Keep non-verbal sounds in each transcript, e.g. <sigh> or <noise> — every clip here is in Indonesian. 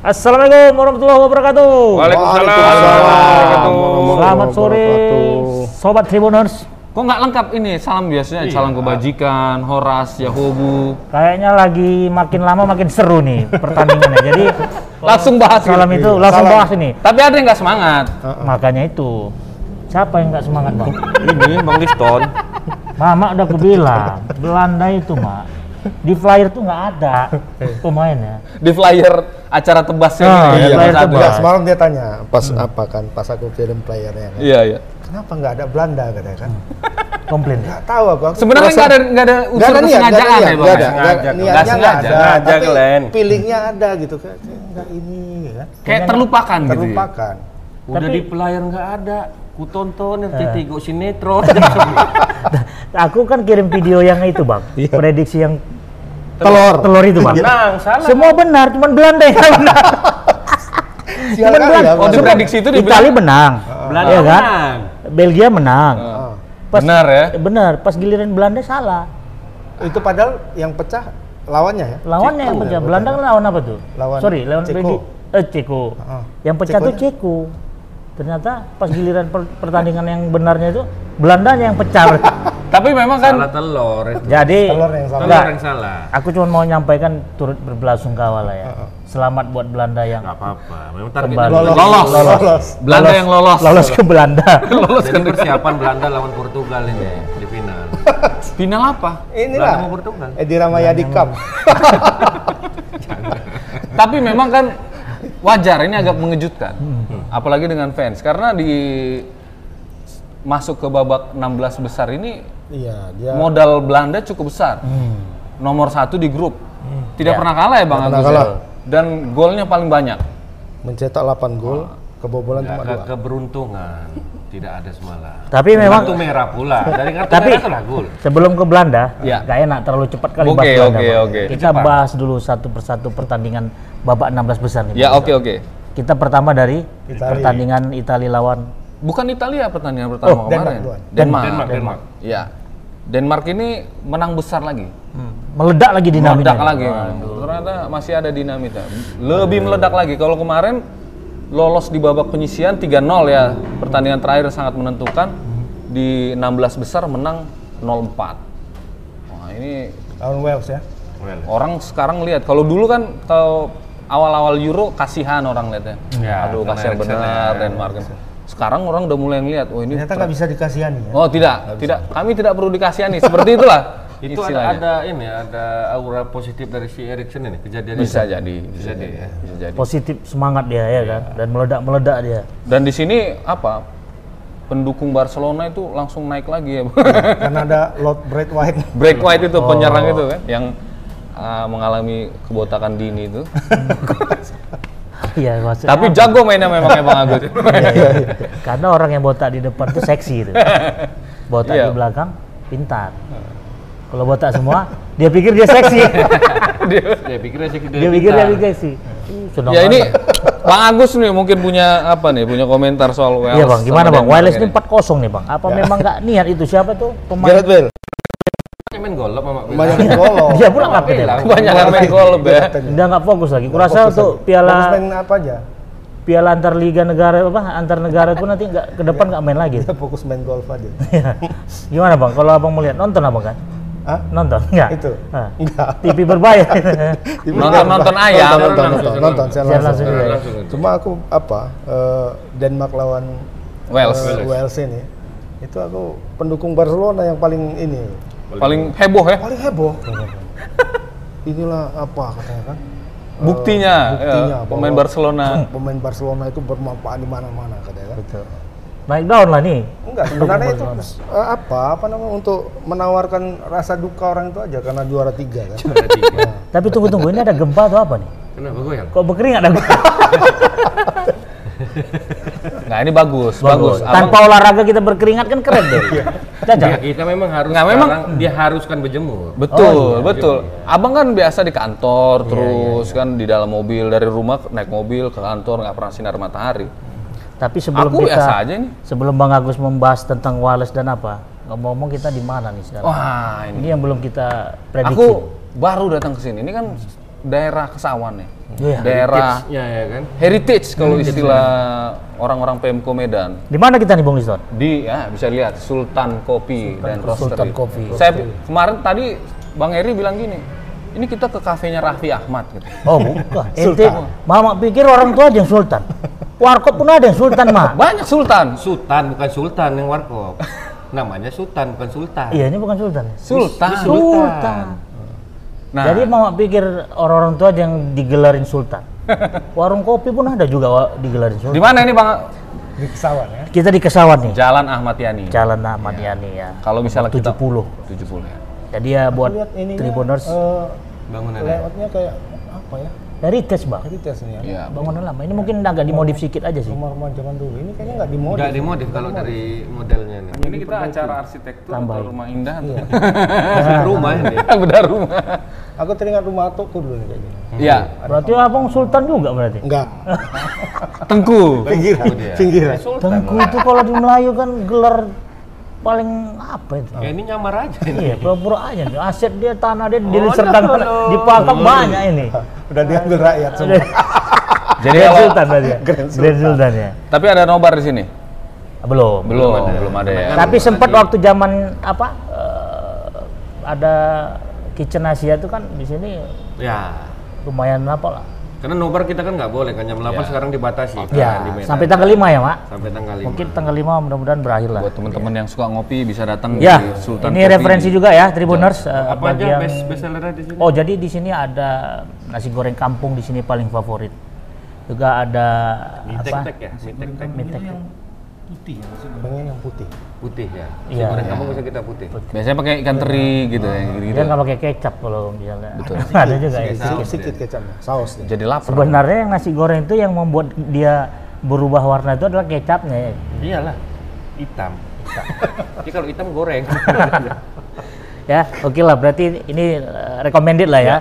Assalamualaikum warahmatullahi wabarakatuh. Waalaikumsalam. Waalaikumsalam. Selamat Assalamualaikum sore, warahmatullahi sobat Tribuners. Kok nggak lengkap ini salam biasanya salam kebajikan, Horas, Yahobu. Kayaknya lagi makin lama makin seru nih pertandingannya. Jadi Langsung bahas salam gitu. itu langsung Salam. bawah sini. Tapi ada yang nggak semangat. Makanya itu. Siapa yang nggak semangat bang? Ini Bang Liston. Mama udah kebilang Belanda itu mak di flyer tuh nggak ada pemainnya. Di flyer acara tebasnya Ah, gitu, iya, yang flyer satu. tebas. Enggak, semalam dia tanya pas apa kan, pas aku kirim playernya kan. Iya, iya. Kenapa nggak ada Belanda katanya kan? Komplain. Nggak tahu aku. aku Sebenarnya merasa- nggak ada nggak ada nggak unsur ada niat, nggak ada kesengajaan ya, niat, Bang. nggak ada, ya? nggak ada, Nggak niatnya nggak sengaja. ada, Sengaja, tapi Glenn. feelingnya ada gitu kan, Kayak nggak ini ya kan, Kayak terlupakan, gitu. ya. terlupakan. Udah Tapi- Eh. di pelayar nggak ada. Ku tonton RCTI go <laughs> sinetron. Aku kan kirim video yang itu bang, prediksi yang Telur, telur itu bang. Iya, Tenang, salah. Semua benar, cuman Belanda yang nggak benar. Sial Cuman kali Belanda. Oh, ya, di Belanda. prediksi itu dibilang Itali menang, Belanda ya kan? menang. Belgia menang. Ah. Pas- benar ya. Eh, Benar, pas giliran Belanda salah. Itu padahal yang pecah lawannya ya. Lawannya yang pecah. ya, Belanda kan lawan apa tuh? Lawan Sorry, lawan Ceko. Ah, ya? Belgia. Eh, Ceko. Heeh. Yang pecah tuh Cekonya? Ceko. Ternyata pas giliran per- pertandingan yang benarnya itu Belandanya yang pecah. <laughs> Tapi memang kan Salah telur. itu. Jadi Telur yang salah. enggak, Telur yang salah. aku cuma mau nyampaikan turut berbelasungkawa lah ya. Ah, Selamat buat Belanda yang Nggak apa-apa. Memang Kembali. targetnya Lolos, Lolos. lolos. Belanda yang lolos. lolos ke Belanda. <laughs> Lolos Jadi kan persiapan Belanda lawan Portugal ini di <laughs> final. final apa? Inilah, Belanda mau Portugal. Eh, Edi Ramayadi Cup. Tapi memang kan wajar ini agak mengejutkan. Apalagi dengan fans karena di masuk ke babak 16 besar ini Iya, dia modal Belanda cukup besar. Nomor satu di grup. Tidak pernah kalah ya Bang Hmm. Tidak Agus. pernah ya? kalah. Dan golnya paling banyak. mencetak 8 gol, kebobolan Nggak cuma ke dua. keberuntungan. Tidak ada semalam. Tapi memang- kartu merah pula. Dari kartu Tapi- merah itulah gol. Sebelum ke Belanda, Ya. nggak enak terlalu cepat kali Oke, bahas Belanda, oke, Bang. oke. Kita bahas dulu satu persatu pertandingan babak 16 besar nih. Ya Bang. oke oke. Kita pertama dari Itali. pertandingan Italia lawan Bukan Italia pertandingan pertama Oh, Denmark kemarin. duluan. Denmark. Denmark, Denmark. Ya. Denmark ini menang besar lagi. hmm, meledak lagi dinamika. meledak lagi. Ternyata masih ada dinamita. Lebih meledak lagi. Kalau kemarin lolos di babak penyisian 3-0 ya. Pertandingan terakhir sangat menentukan. Hmm. Di 16 besar menang 0-4. Wah, ini Lawan Wales ya. Well. Oh, orang sekarang lihat kalau dulu kan kalau awal-awal Euro kasihan orang lihatnya. Ya, Aduh karena kasihan Eriksen benar ya. Denmark. Sekarang orang udah mulai ngelihat, oh ini Ternyata nggak bisa dikasihani ya. Oh, tidak, tidak. Kami tidak perlu dikasihani. Seperti itulah. <laughs> Itu ada, istilahnya. ada ini ada aura positif dari si Erikson ini kejadian bisa ini. jadi, bisa jadi, jadi, ya. bisa jadi. Positif semangat dia ya kan dan meledak-meledak <laughs> dia. Dan di sini apa? Pendukung Barcelona itu langsung naik lagi ya. Karena ada Lord Brad White. <laughs> Break Oh. White itu penyerang itu kan yang ah, mengalami kebotakan dini <laughs> itu. Iya, maksudnya. <laughs> Tapi jago mainnya memang ya Bang Agus. Iya. iya. karena orang yang botak di depan tuh seksi <laughs> itu. Botak Iya. Hmm. di belakang pintar. Kalau botak semua, dia pikir dia <laughs> seksi. Dia pikirnya sih dia pikir dia seksi. Ih, senang ya ini banget. <laughs> Bang Agus nih mungkin punya apa nih, punya komentar soal Wales. Iya bang, sama gimana bang? Denmark Wireless ini? Ya. ini 4-0 nih bang. Apa memang nggak niat itu siapa tuh pemain? Gareth Bale, main gol lah Pak. <laughs> banyak <laughs> gol. loh. Dia pula nggak peduli. Bilang. kebanyakan main gol ya. Dia nggak fokus lagi. Kurasa Fokus untuk aja. Fokus piala main apa aja? <laughs> piala antar liga negara apa antar negara pun nanti nggak ke depan nggak main lagi. <laughs> Dia fokus main golf <laughs> aja. gimana bang? Kalau abang melihat nonton abang kan? Hah? Nonton nggak? Itu. Hah. Enggak. TV berbayar. <laughs> Nonton-nonton ayam. Nonton, nonton, nonton, nonton, siaran Siaran langsung. langsung. Cuma aku apa eh, Denmark lawan Wales. eh, Wales ini itu aku pendukung Barcelona yang paling ini Paling heboh Oh, ya. paling <laughs> heboh. Inilah apa katanya kan? Buktinya, buktinya ya, pemain bahwa- Barcelona. Pemain Barcelona itu bermanfaat di mana-mana katanya kan. Betul. Naik daun lah nih. Enggak, sebenarnya itu eh, apa apa namanya untuk menawarkan rasa duka orang itu aja karena juara tiga kan. Tapi tunggu-tunggu ini ada gempa atau apa nih? Kenapa goyang? Kok berkeringat ada gempa? Nah ini bagus, bagus. Bagus. <laughs> Tanpa olahraga kita berkeringat kan keren deh. Iya. Cacat. Ya, kita memang harus Nggak, memang- sekarang diharuskan berjemur. Betul, Oh, iya, betul. Abang kan biasa di kantor terus kan di dalam mobil dari rumah naik mobil ke kantor nggak pernah sinar matahari. Tapi sebelum Aku kita biasa aja nih. sebelum Bang Agus membahas tentang Wallace dan apa, ngomong-ngomong Oh. kita di mana nih sekarang? Wah ini. Ini yang belum kita prediksi. Aku baru datang ke sini. Ini kan daerah kesawan ya. Iya. Daerah Ya ya kan. heritage kalau istilah orang-orang PMK Medan. Di mana kita nih Bung Liston? Di ya bisa lihat Sultan Kopi dan Roastery. Sultan Kopi. Saya kemarin tadi Bang Eri bilang gini, ini kita ke kafenya Raffi Ahmad gitu. Oh bukan. Ente, Sultan. mama pikir orang tua aja yang Sultan. Warkop pun ada yang Sultan mah. Banyak sultan. Sultan bukan Sultan yang warkop. Namanya Sultan bukan Sultan. Iya ini bukan Sultan. Sultan. Sultan. Sultan. Nah, Jadi mama pikir orang-orang tua aja yang digelarin Sultan. Warung kopi pun ada juga wa- digelarin Sultan. di mana ini Bang? di kesawan ya. Kita di Kesawan nih, Jalan Ahmad Yani. Jalan Ahmad Yani ya. Kalau misalnya kita 70. 70 ya. Jadi ya buat Lihat ini eh, Tribuners Bangunan. layoutnya kayak apa ya? heritage bang. Jadi tes nih ya. Iya. Bangunan lama. Ini mungkin agak dimodif sedikit aja sih. Rumah-rumah zaman dulu ini kayaknya nggak dimodif. Enggak dimodif kalau dari modelnya Nah. nih. Ini kita acara arsitektur atau rumah indah atau Masuk rumah <laughs> ini. bedah rumah. Aku teringat rumah atokku dulu nih kayaknya. Hmm. Iya, Berarti abang Sultan juga berarti. Enggak. tengku. <laughs> Pinggiran. Pinggiran. Tengku itu kalau di Melayu kan gelar paling apa itu? Ya ini nyamar aja ini. Iya, pura-pura aja. nih. Aset dia, tanah dia, di Oh, Serdang, dahulu. di Pangkep banyak ini. Udah diambil rakyat semua. Jadi Grand kalau- Sultan tadi ya? Grand Sultan. ya? Tapi ada nobar di sini? Belum. Belum, belum ada ya. Tapi sempat waktu zaman apa eh, ada kitchen Asia itu kan di sini Ya. lumayan apa lah. Karena nobar kita kan nggak boleh kan jam 8 sekarang dibatasi. kan, Ya, di Medan. Iya. sampai tanggal 5 ya, Mak. sampai tanggal 5. Mungkin tanggal 5 mudah-mudahan berakhir lah. Buat teman-teman yang suka ngopi bisa datang Ya, di Sultan ini Kopi. referensi juga ya Tribuners eh, Apa bagi aja yang- best best sellernya di sini? Oh, jadi di sini ada nasi goreng kampung di sini paling favorit. Juga ada Mie apa? tek-tek ya, mie tek-tek. Pengen yang putih. Putih ya. Iya. Goreng kamu bisa kita putih. Biasanya pakai ikan teri gitu ya, gitu. Dia Iya. nggak pakai kecap kalau misalnya. <laughs> ada juga ya. Sedikit, sedikit kecapnya, sausnya. Jadi lapar. Sebenarnya yang nasi goreng itu yang membuat dia berubah warna itu adalah kecapnya ya. Iyalah. Hitam. <laughs> Jadi kalau hitam goreng. Ya, oke lah berarti ini eh, recommended lah ya,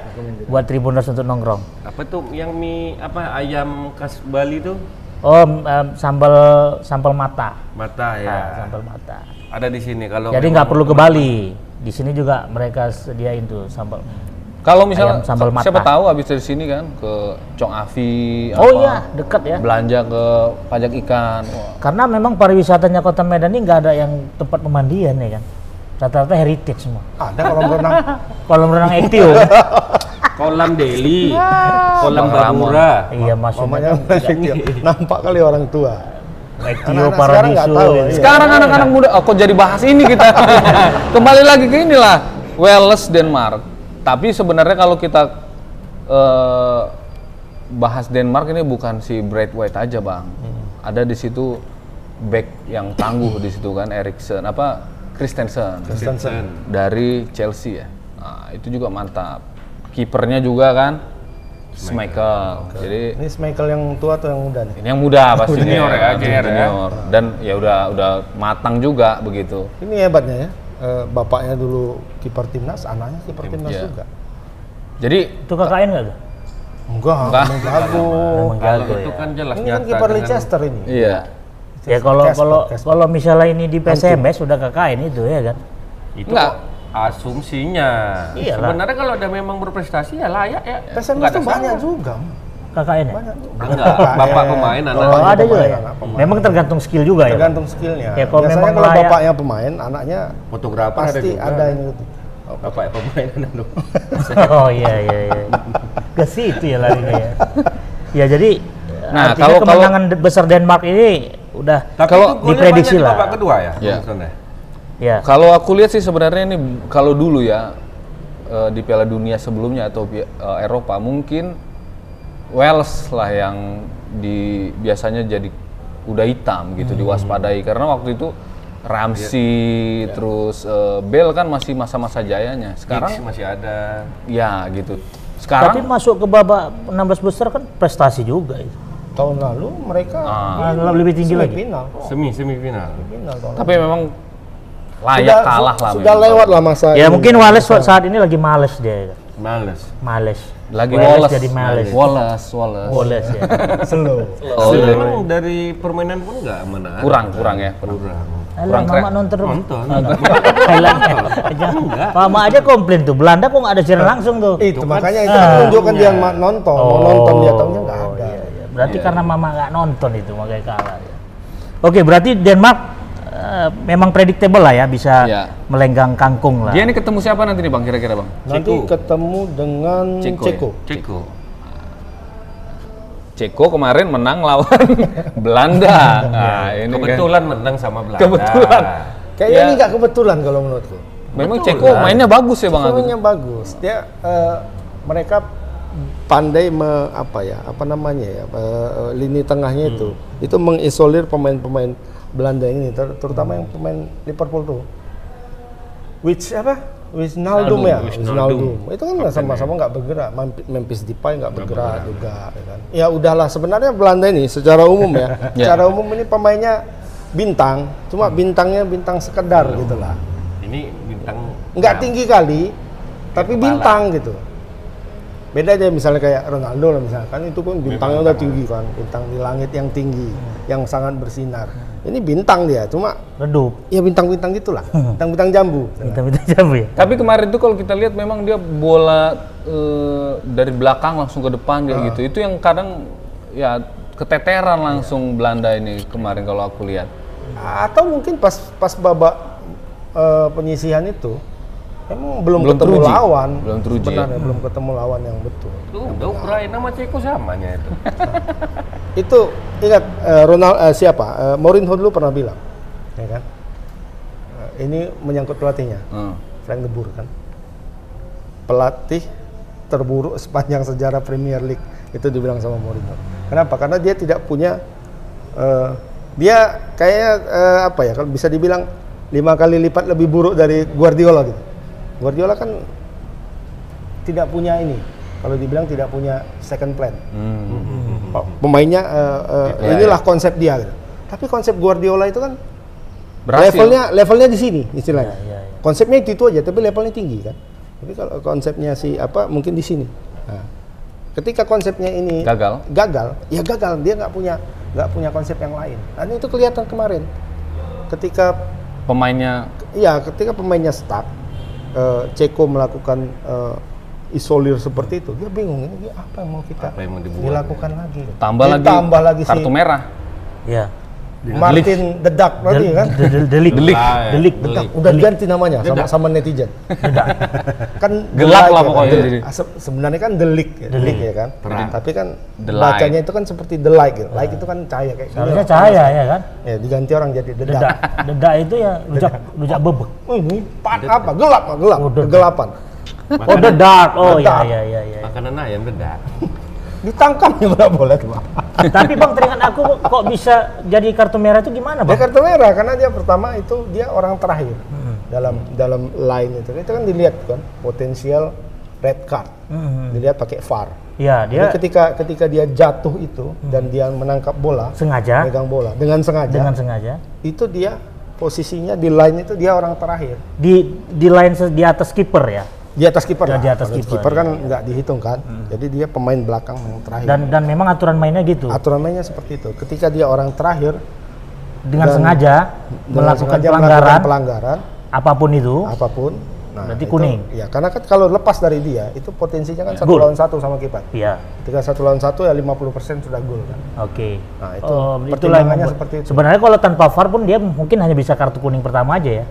buat Tribuners untuk nongkrong. apa tuh yang mie apa ayam khas Bali tuh? Oh, m- em, sambal sambal mata. Mata ya. Nah, sambal mata. Ada di sini kalau Jadi nggak perlu ke Bali. Di sini juga mereka sediain tuh sambal. Kalau misalnya Ayam sambal mata. siapa tahu habis dari sini kan ke Cong Afi Oh apa, iya, dekat ya. belanja ke pajak ikan. Wah, Karena memang pariwisatanya Kota Medan ini nggak ada yang tempat pemandian ya kan. Rata-rata heritage semua. Ada kolam renang. Kolam renang Etio. kolam Deli, Bang kolam Ramon. Bangura. iya, maksudnya Mamanya <laughs> Prasetyo. Nampak kali orang tua. Etio Anak-anak sekarang nggak Paradiso. tahu, gitu. iya. Sekarang anak-anak muda, oh, kok jadi bahas ini <laughs> kita? Kembali lagi ke inilah, Wales Denmark. Tapi sebenarnya kalau kita eh, bahas Denmark ini bukan si Brad White aja bang. Hmm. Ada di situ back yang tangguh di situ kan, Eriksen apa Christensen Kristensen. dari Chelsea ya. Nah, itu juga mantap. Kipernya juga kan, Schmeichel. Jadi Ini Michael yang tua atau yang muda nih? ini yang muda pasti Junior ya, JR ya. junior. Dan ya udah udah matang juga begitu. Ini hebatnya ya. eh, bapaknya dulu kiper timnas, anaknya kiper timnas iya. juga. Jadi Itu KKN nggak tuh? Enggak, Enggak. emang jago. Memang Kalau jago itu ya. kan jelas Ini kan nyata. kiper dengan- Leicester ini. iya. Ya kalau Casper, kalau Casper. kalau misalnya ini di PSMS sudah KKN itu ya kan. Itu Enggak. kok asumsinya. Iyalah. Sebenarnya kalau ada memang berprestasi ya layak ya. PSMS tuh banyak juga. KKN ya? Banyak juga. Enggak, bapak pemain anak. Oh, ada pemain, juga ya. anak pemain. Memang tergantung skill juga ya. Bang? Tergantung skillnya. Ya, kalau Biasanya memang kalau layak- bapaknya pemain, anaknya Fotografer pasti juga. ada yang ikuti. Bapak ya pemain anak. lu. <laughs> Oh iya iya iya. Ke situ ya larinya <laughs> ya. Ya jadi Nah, artinya kalau- kalau- kemenangan de- besar Denmark ini udah Tapi Kalau itu golnya diprediksi banyak di lah. Babak kedua ya. Iya. maksudnya? ya Kalau aku lihat sih sebenarnya ini kalau dulu ya eh, di Piala Dunia sebelumnya atau pi- eh, Eropa mungkin Wales lah yang di biasanya jadi kuda hitam gitu diwaspadai karena waktu itu Ramsey terus eh, Bale kan masih masa-masa jayanya. Sekarang Sekarang masih ada. ya gitu. tapi Sekarang masuk ke babak 16 besar kan prestasi juga itu. Tahun lalu mereka Nah, Iya. lebih tinggi lagi. semifinal. Semi semifinal. Semifinal tahun tapi memang lalu. layak Sudah- kalah lah. Sudah memang. lewat lah masa Ya ini. mungkin Wales saat ini lagi males dia. ya kan? Males. Males. Lagi Wales Wallace. jadi males. Wallace, Wallace. Wales ya. <laughs> slow. Oh, Memang dari permainan pun enggak menarik. kurang kurang ya kurang. Kurang. Alah, Kurang mama keren. nonton dong. Nonton. Alah, aja. Mama aja komplain tuh. Belanda kok nggak ada siaran langsung tuh. itu makanya itu Ah, menunjukkan dia yang ma- nonton mau nonton dia tahunya nggak ada iya, iya. Berarti karena mama nggak nonton itu makanya kalah. ya. Oke, berarti Denmark eh, memang predictable lah ya bisa Iya. melenggang kangkung lah. Dia ini ketemu siapa nanti nih bang kira-kira bang? nanti ketemu dengan Ceko, ya? Ceko. Ceko kemarin menang lawan <laughs> Belanda. Iya. Nah, ini kan. Kebetulan menang sama Belanda. Kebetulan. kayaknya Ya. ini nggak kebetulan kalau menurutku Memang Ceko mainnya bagus ya bang Agus. semuanya bagus dia eh, mereka pandai me, apa ya apa namanya ya eh, lini tengahnya itu itu mengisolir pemain-pemain Belanda ini ter- terutama yang pemain Liverpool tuh which apa Wijnaldum ya Wijnaldum itu kan sama-sama nggak bergerak Memp- Memphis Depay nggak bergerak juga ya kan. ya udahlah sebenarnya Belanda ini secara umum <laughs> ya Ya. secara umum ini pemainnya bintang cuma bintangnya bintang sekedar gitu lah Ini bintang nggak Nah. tinggi kali tapi bintang gitu beda aja misalnya kayak Ronaldo lah misalkan itu kan bintangnya udah tinggi kan bintang di langit yang tinggi Hmm. yang sangat bersinar ini bintang dia cuma Redup. ya bintang-bintang gitulah Hmm. bintang-bintang jambu Minta-minta jambu ya. Tapi kemarin tuh kalau kita lihat memang dia bola eh, dari belakang langsung ke depan Ah. kayak gitu. Itu yang kadang ya keteteran Iya. langsung Belanda ini kemarin kalau aku lihat. atau mungkin pas pas babak eh, penyisihan itu emang belum, Belum ketemu teruji. lawan Belum teruji. Hmm. sebenarnya belum ketemu lawan yang betul Tuh, udah Ukraina sama Ceko samanya itu. itu ingat eh, Ronald eh, siapa Eh, Mourinho dulu pernah bilang ya kan Eh, ini menyangkut pelatihnya Hmm. Frank De Boer kan pelatih terburuk sepanjang sejarah Premier League itu dibilang sama Mourinho. Kenapa? Karena dia tidak punya eh, dia kayaknya eh, apa ya kalau bisa dibilang lima kali lipat lebih buruk dari Guardiola gitu. Guardiola kan tidak punya ini kalau dibilang tidak punya second plan. Pe- Pemainnya eh, eh, inilah konsep dia gitu. Tapi konsep Guardiola itu kan Berhasil. levelnya levelnya di sini istilahnya. Konsepnya itu, itu aja tapi levelnya tinggi kan. Tapi kalau konsepnya si apa mungkin di sini. Nah, ketika konsepnya ini Gagal. gagal, ya gagal dia nggak punya nggak punya konsep yang lain. Nah, itu kelihatan kemarin. Ketika Pemainnya ya ketika pemainnya stuck, eh, Ceko melakukan eh, isolir seperti itu, dia bingung ini dia apa yang mau kita Apa yang mau dibuat, dilakukan lagi. tambah lagi, Ditambah lagi si kartu merah. Iya. Martin Dedak tadi kan. De- de- Delik. Ah, iya. Delik. Delik. Dedak, udah ganti namanya sama, sama netizen. <laughs> kan Gelak lah delik ya kan. pokoknya Delik. jadi. Hmm. Ah, se- Sebenarnya kan delik, ya, delik ya kan. Tapi kan Delight. Hmm. bacanya itu kan seperti delight gitu. Like itu kan cahaya kayak gini. Harusnya cahaya ya kan. Ya diganti orang jadi dedak. Dedak. Dedak itu ya rujak rujak bebek. Oh, ini pan apa? Gelap, ah, gelap, Oh, dedak. kegelapan. Oh, the dark. Oh, iya iya iya iya. Makanan ayam dedak. Ditangkapnya nggak boleh tuh. Tapi Bang teringat aku kok bisa jadi kartu merah itu gimana, Dia kan Bang? kartu merah karena dia pertama itu dia orang terakhir Hmm. dalam dalam line itu. Itu kan dilihat kan potensial red card. Hmm. Dilihat pakai VAR. Iya, dia Jadi ketika ketika dia jatuh itu Hmm. dan dia menangkap bola, sengaja megang bola dengan sengaja, dengan sengaja itu dia posisinya di line itu dia orang terakhir. di di line se- di atas kiper ya. Di atas kiper. Ya, lah. di atas Kalau kiper, kan nggak dihitung kan. Jadi dia pemain belakang yang terakhir. Dan dan memang aturan mainnya gitu. Aturan mainnya seperti itu. Ketika dia orang terakhir Dengan dan- sengaja dengan melakukan sengaja pelanggaran pelanggaran apapun itu. apapun. Nah, Berarti itu- kuning. Ya. Ya, karena kan kalau lepas dari dia itu potensinya kan satu Gol. lawan satu sama kiper. Iya. Ketika satu lawan satu ya 50% sudah gol kan. Oke. Nah, itu Oh, itulah yang pertimbangannya membuat- seperti itu. Sebenarnya kalau tanpa VAR pun dia mungkin hanya bisa kartu kuning pertama aja ya.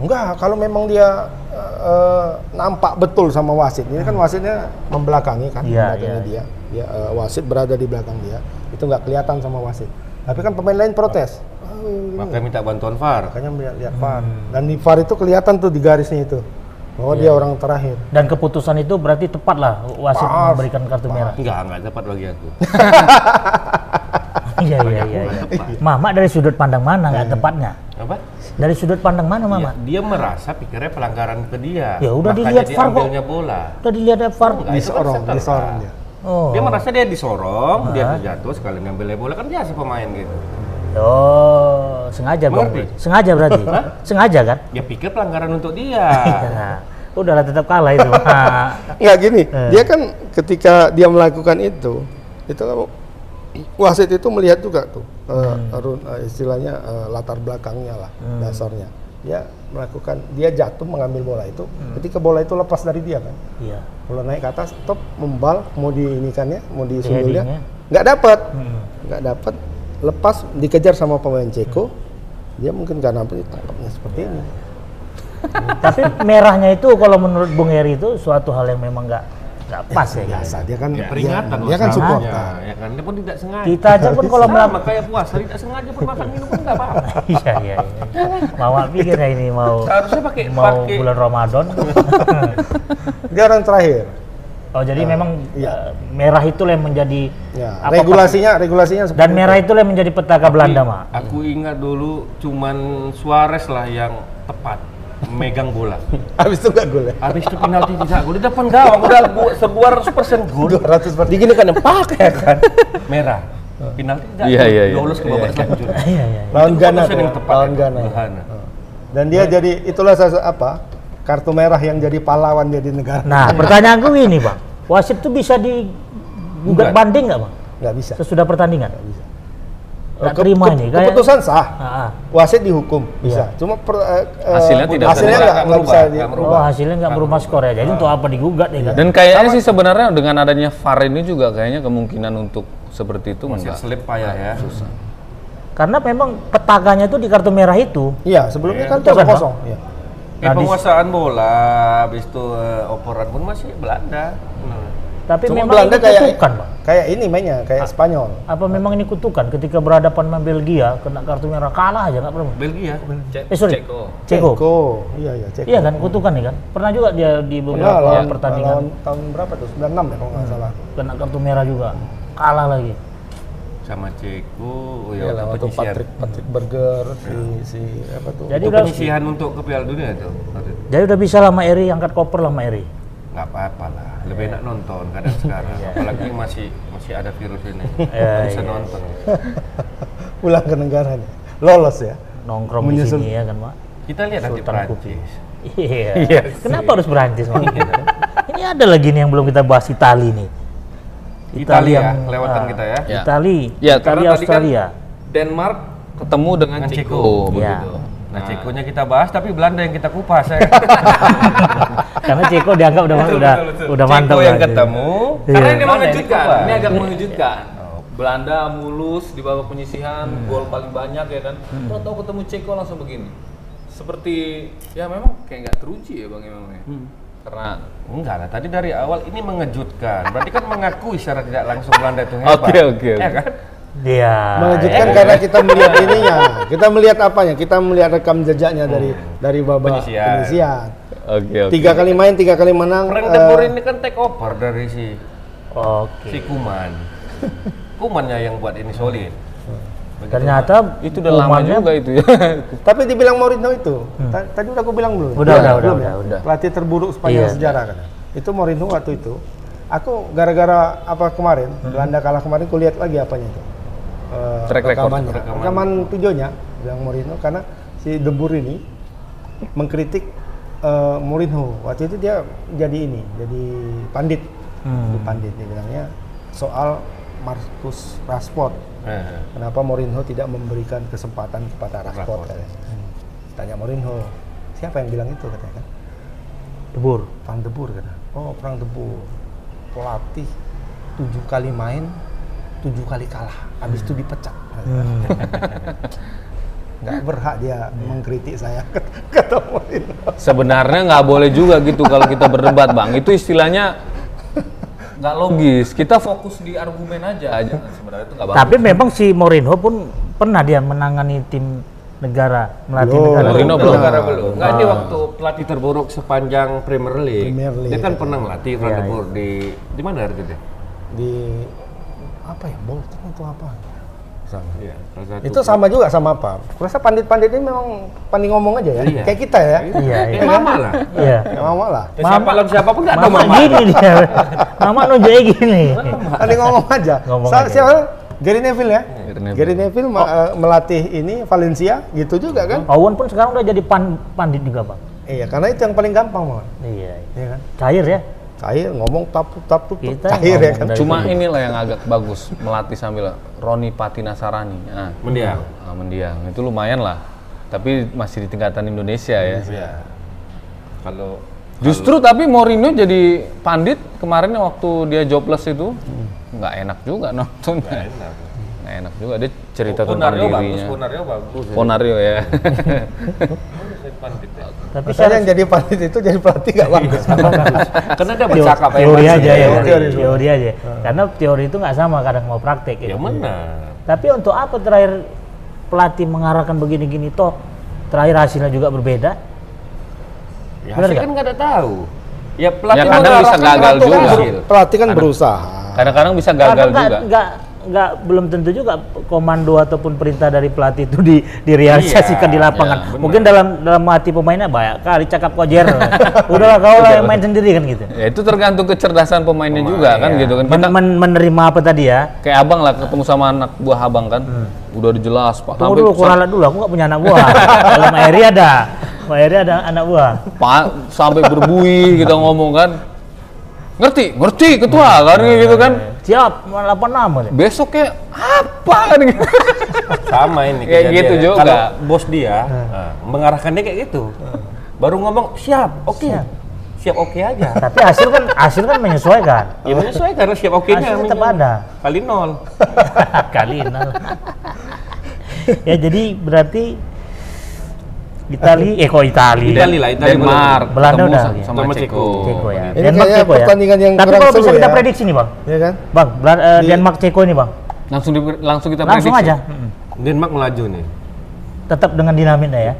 Enggak, kalau memang dia eh, eh, nampak betul sama wasit. Ini kan wasitnya membelakangi kan, Hmm. Iya, membelakangi dia. Dia eh, wasit berada di belakang dia. Itu nggak kelihatan sama wasit. Tapi kan pemain lain protes. Hmm. Eh, Makanya minta bantuan VAR. Makanya melihat lihat VAR. Dan di VAR itu kelihatan tuh di garisnya itu bahwa Iya. dia orang terakhir. Dan keputusan itu berarti tepat lah wasit Pas, memberikan kartu merah. Enggak, enggak dapat bagi aku. <laughs> Iya iya iya. iya. Mama dari sudut pandang mana Iya. nggak tepatnya? Apa? Dari sudut pandang mana mama? Dia merasa pikirnya pelanggaran ke dia. Ya udah, Makanya dilihat dia VAR kok. ambilnya bola. Udah dilihat VAR. Enggak, itu kan Disorong, setelah. disorong dia. Oh. Dia merasa dia disorong, dia terjatuh sekali ngambilnya bola kan biasa pemain gitu. Oh, sengaja Bang. Mengerti? Sengaja berarti. sengaja kan? Dia pikir pelanggaran untuk <laughs> dia. Nah, udahlah tetap kalah itu. Nah, Nggak gini, Eh. dia kan ketika dia melakukan kan itu, itu wasit itu melihat juga tuh eh, Hmm. run- eh, istilahnya eh, latar belakangnya lah dasarnya. Dia melakukan dia jatuh mengambil bola itu, Hmm. ketika bola itu lepas dari dia kan. Iya. Bola naik ke atas, top membal, mau diinikannya, mau Headingnya. disundulnya, nggak dapat, Hmm. nggak dapat. Lepas dikejar sama pemain Ceko, dia mungkin karena apa ditangkapnya seperti Ya. ini. Tapi merahnya itu kalau menurut Bung Heri itu suatu hal yang memang nggak nggak pas ya. guys. Biasa dia kan Iya. Ya, dia- peringatan dia, loh kan sama supporter. Ya, ya kan, dia pun tidak sengaja. Kita aja pun kalau Sama melakukan kayak puasa, tidak sengaja pun makan minum pun <laughs> nggak apa-apa. Iya iya. iya. Mau pikir ya ini mau Seharusnya pakai mau pakai bulan Ramadan. Ya. Dia orang terakhir. Oh jadi memang iya. eh, merah itu yang menjadi Ya, apa- regulasinya regulasinya seperti dan itu. merah itu yang menjadi petaka Belanda Iya. mak. Aku ingat dulu cuman Suarez lah yang tepat megang bola. <laughs> Habis itu nggak gol ya. Habis itu penalti tidak gol di depan gawang udah gua sebuah persen gol. 200 Digini kan empat <laughs> ya kan. Merah. Penalti tidak. Iya, gol. iya, iya. Lolos ke babak selanjutnya. <laughs> Iya iya. iya. lawan Itu Ghana keputusan tuh, yang tepat lawan ya, Ghana. Ghana. Dan dia jadi itulah sasa- apa? Kartu merah yang jadi pahlawan dia di negara. Nah pertanyaanku ini bang, wasit itu bisa digugat Gugat. banding nggak bang? Nggak bisa. Sesudah pertandingan? Nggak bisa. Nah, Ke- terima ke- nih. kayak- Iya. Keputusan sah. Ah, ah. Wasit dihukum bisa. Cuma per- eh, eh, Hasilnya tidak hasilnya bisa nggak dirubah, nggak bisa nggak Oh dirubah. hasilnya nggak berubah skor ya, jadi Nah. untuk apa digugat ya kan? Dan kayaknya sih sebenarnya dengan adanya VAR ini juga kayaknya kemungkinan untuk seperti itu Masih enggak. selip payah ya. Susah. Karena memang petaganya itu di kartu merah itu. Iya, sebelumnya kan Itu kan, Pak? kosong-kosong. Iya. Eh, penguasaan bola, habis itu eh, operan pun masih Belanda. Nah. Tapi Cuma memang Belanda ini kayak kutukan, Bang. kayak ini mainnya kayak Spanyol. Apa memang ini kutukan ketika berhadapan sama Belgia kena kartu merah kalah aja nggak pernah. Belgia. Cek. Eh sorry, Ceko. Ceko. Iya, iya, Ceko. Iya kan, kutukan ya kan. Pernah juga dia di Pernah beberapa lawan, pertandingan Hmm. lawan tahun berapa tuh? 96 ya kalau nggak salah. kena kartu merah juga, kalah lagi. Sama Ceko. Oh Iya, ya, lawan waktu tuh penyisihan. Patrick Patrick Berger si si apa tuh? Jadi Itu udah, penyisihan untuk ke Piala Dunia itu. jadi udah bisa lama Eri angkat koper lama Eri. nggak apa-apa lah lebih enak nonton kadang sekarang apalagi masih masih ada virus ini Iya, nggak bisa iya. nonton pulang ke negaranya lolos ya Nongkrong Menyusul. di sini ya kan, Mak. <laughs> kita lihat nanti Sultan Prancis Iya. Kenapa harus Perancis, Mak? <laughs> ini ada lagi nih yang belum kita bahas Itali nih. Italia yang, lewatan ah, kita ya Ya. Itali, Ya, Itali karena tadi kan- <laughs> Australia. Denmark ketemu dengan Dengan Ceko, Ceko. begitu. Iya. nah Cekonya kita bahas tapi Belanda yang kita kupas ya Karena Ceko dianggap udah udah udah mantap Ceko yang lah. ketemu Iya. Karena ini mengejutkan, Belanda yang ini dikupas. agak mengejutkan. Belanda mulus di babak penyisihan, gol paling banyak ya kan. Tahu-tahu ketemu Ceko langsung begini. Seperti ya memang kayak nggak teruji ya bang memang ya. Karena enggak lah tadi dari awal ini mengejutkan berarti kan mengakui secara tidak langsung Belanda itu hebat Oke, oke, ya oke. kan Iya. mengejutkan karena kita melihat ininya kita melihat apanya kita melihat rekam jejaknya dari dari babak Penyisian. penyisian Oke, oke. tiga kali main tiga kali menang Frank eh, De Boer ini kan take over dari si Oke. si Kuman Kumannya yang buat ini solid Ternyata Itu udah lama kumannya- juga itu ya. <laughs> tapi dibilang Mourinho itu Ta- tadi udah aku bilang belum Hmm. ya? Udah, udah, udah, belum udah, udah. pelatih terburuk sepanjang Iya. sejarah kan itu Mourinho waktu itu aku gara-gara apa kemarin Hmm. Belanda kalah kemarin aku lihat lagi apanya itu Eh, Track record, rekamannya rekaman. rekaman videonya bilang Mourinho karena si De Boer ini mengkritik eh, Mourinho waktu itu dia jadi ini jadi pandit Hmm. Jadi pandit dia bilangnya soal Marcus Rashford Eh. Kenapa Mourinho tidak memberikan kesempatan kepada Rashford? katanya. Hmm. Tanya Mourinho, siapa yang bilang itu katanya kan? Debur. Frank De Boer katanya. Oh, Frank De Boer. Pelatih tujuh kali main, tujuh kali kalah. Habis itu dipecat. Nggak berhak dia mengkritik saya, kata Mourinho. Sebenarnya nggak boleh juga gitu kalau kita berdebat, Bang. Itu istilahnya nggak logis. Kita fokus di argumen aja. aja. Sebenarnya itu nggak bagus. Tapi memang si Mourinho pun pernah dia menangani tim negara, melatih Belum. negara. Mourinho belum. Negara belum. Enggak, Ah. ini waktu pelatih terburuk sepanjang Premier Ah. League. Premier League. Iya, Dia kan pernah ngelatih Frank de Boer di di mana harga dia? Di apa ya, Bolton atau apa? Sama. Iya, salah satu. Itu sama juga sama apa? Kurasa pandit-pandit ini memang pandit ngomong aja ya, Iya. kayak kita ya. Iya, iya. Kayak mama lah. Iya. Ya, Mama lah. Ya, siapa lawan siapa pun enggak ada Mama mama. gini dia. Mama nunjuknya gini. Tadi ngomong aja. <laughs> Ngomong Sa- aja. Oh. Siapa? Gary Neville ya? Gary Neville. Gary Neville ma- eh, melatih ini Valencia gitu juga kan? Owen pun sekarang udah jadi pan- pandit juga, Bang. Iya, karena itu yang paling gampang, Mon. Iya. iya. Iya kan? Cair ya. Cair ngomong tapu tapu Kita cair ya ngomong kan. dari- Cuma inilah yang agak bagus melatih sambil Roni Patinasarani. Nah, mendiang. ah, mendiang itu lumayan lah. Tapi masih di tingkatan Indonesia ya. Ya. Kalau Justru tapi Mourinho jadi pandit kemarin waktu dia jobless itu nggak enak juga nonton. Nggak enak. enak juga dia cerita tentang Ponario bagus, dirinya. Ponario bagus. Ponario ya. Pandit ya. Tapi Makanya yang jadi pandit itu jadi pelatih nggak Iya. bagus. <laughs> Karena dia Teo- bercakap teori aja ya, Teori. teori, teori aja. Karena teori itu nggak sama kadang mau praktek. Ya gitu. mana? Tapi untuk apa terakhir pelatih mengarahkan begini-gini toh terakhir hasilnya juga berbeda? Ya, Benar saya nggak? kan nggak ada tahu. Ya pelatih kadang bisa mengarahkan gagal atau juga. hasil. pelatih kan berusaha. Kadang-kadang bisa Karena gagal nggak- juga. nggak- nggak belum tentu juga komando ataupun perintah dari pelatih itu di direalisasikan Iya, di lapangan. iya, Mungkin dalam dalam hati pemainnya banyak kali cakap kojer. <laughs> Udahlah kau lah yang main sendiri kan gitu. Ya itu tergantung kecerdasan pemainnya juga kan gitu kan. Men- Kita men- menerima apa tadi ya? kayak abang lah ketemu sama anak buah abang kan. Udah udah jelas Pak. Tunggu Sampai- Hmm. dulu, kuralat dulu. Aku nggak punya anak <laughs> buah. Kalau Mbak Eri ada, Mbak Eri ada anak buah. Pa- sampai <laughs> berbuih kita ngomong kan. Ngerti, ngerti ketua Hmm. kan gitu kan. Siap, 86 gitu. Besoknya apa kan gitu. Sama ini Kayak kejadiannya. gitu juga. Ah. Kalau bos dia nah, mengarahkannya kayak gitu. Baru ngomong siap, oke. Siap oke aja. Tapi hasil kan hasil kan menyesuaikan. Ya menyesuaikan karena siap oke-nya. Hasil tetap namanya. ada. Kali nol. Kali nol. ya jadi berarti Itali, eh kok Itali? Itali lah, Itali Denmark, Belanda ketemu udah, sa- ya? sama, Sama Ceko. Ceko. Ceko ya. Ini kayaknya Ceko pertandingan yang Tapi kurang kalau bisa seru kita ya. prediksi nih bang, Ya kan? bang Bel- eh, Di- Denmark Ceko nih bang, Langsung di- langsung kita langsung prediksi. aja, Mm-mm. Denmark melaju nih. tetap dengan dinamitnya ya.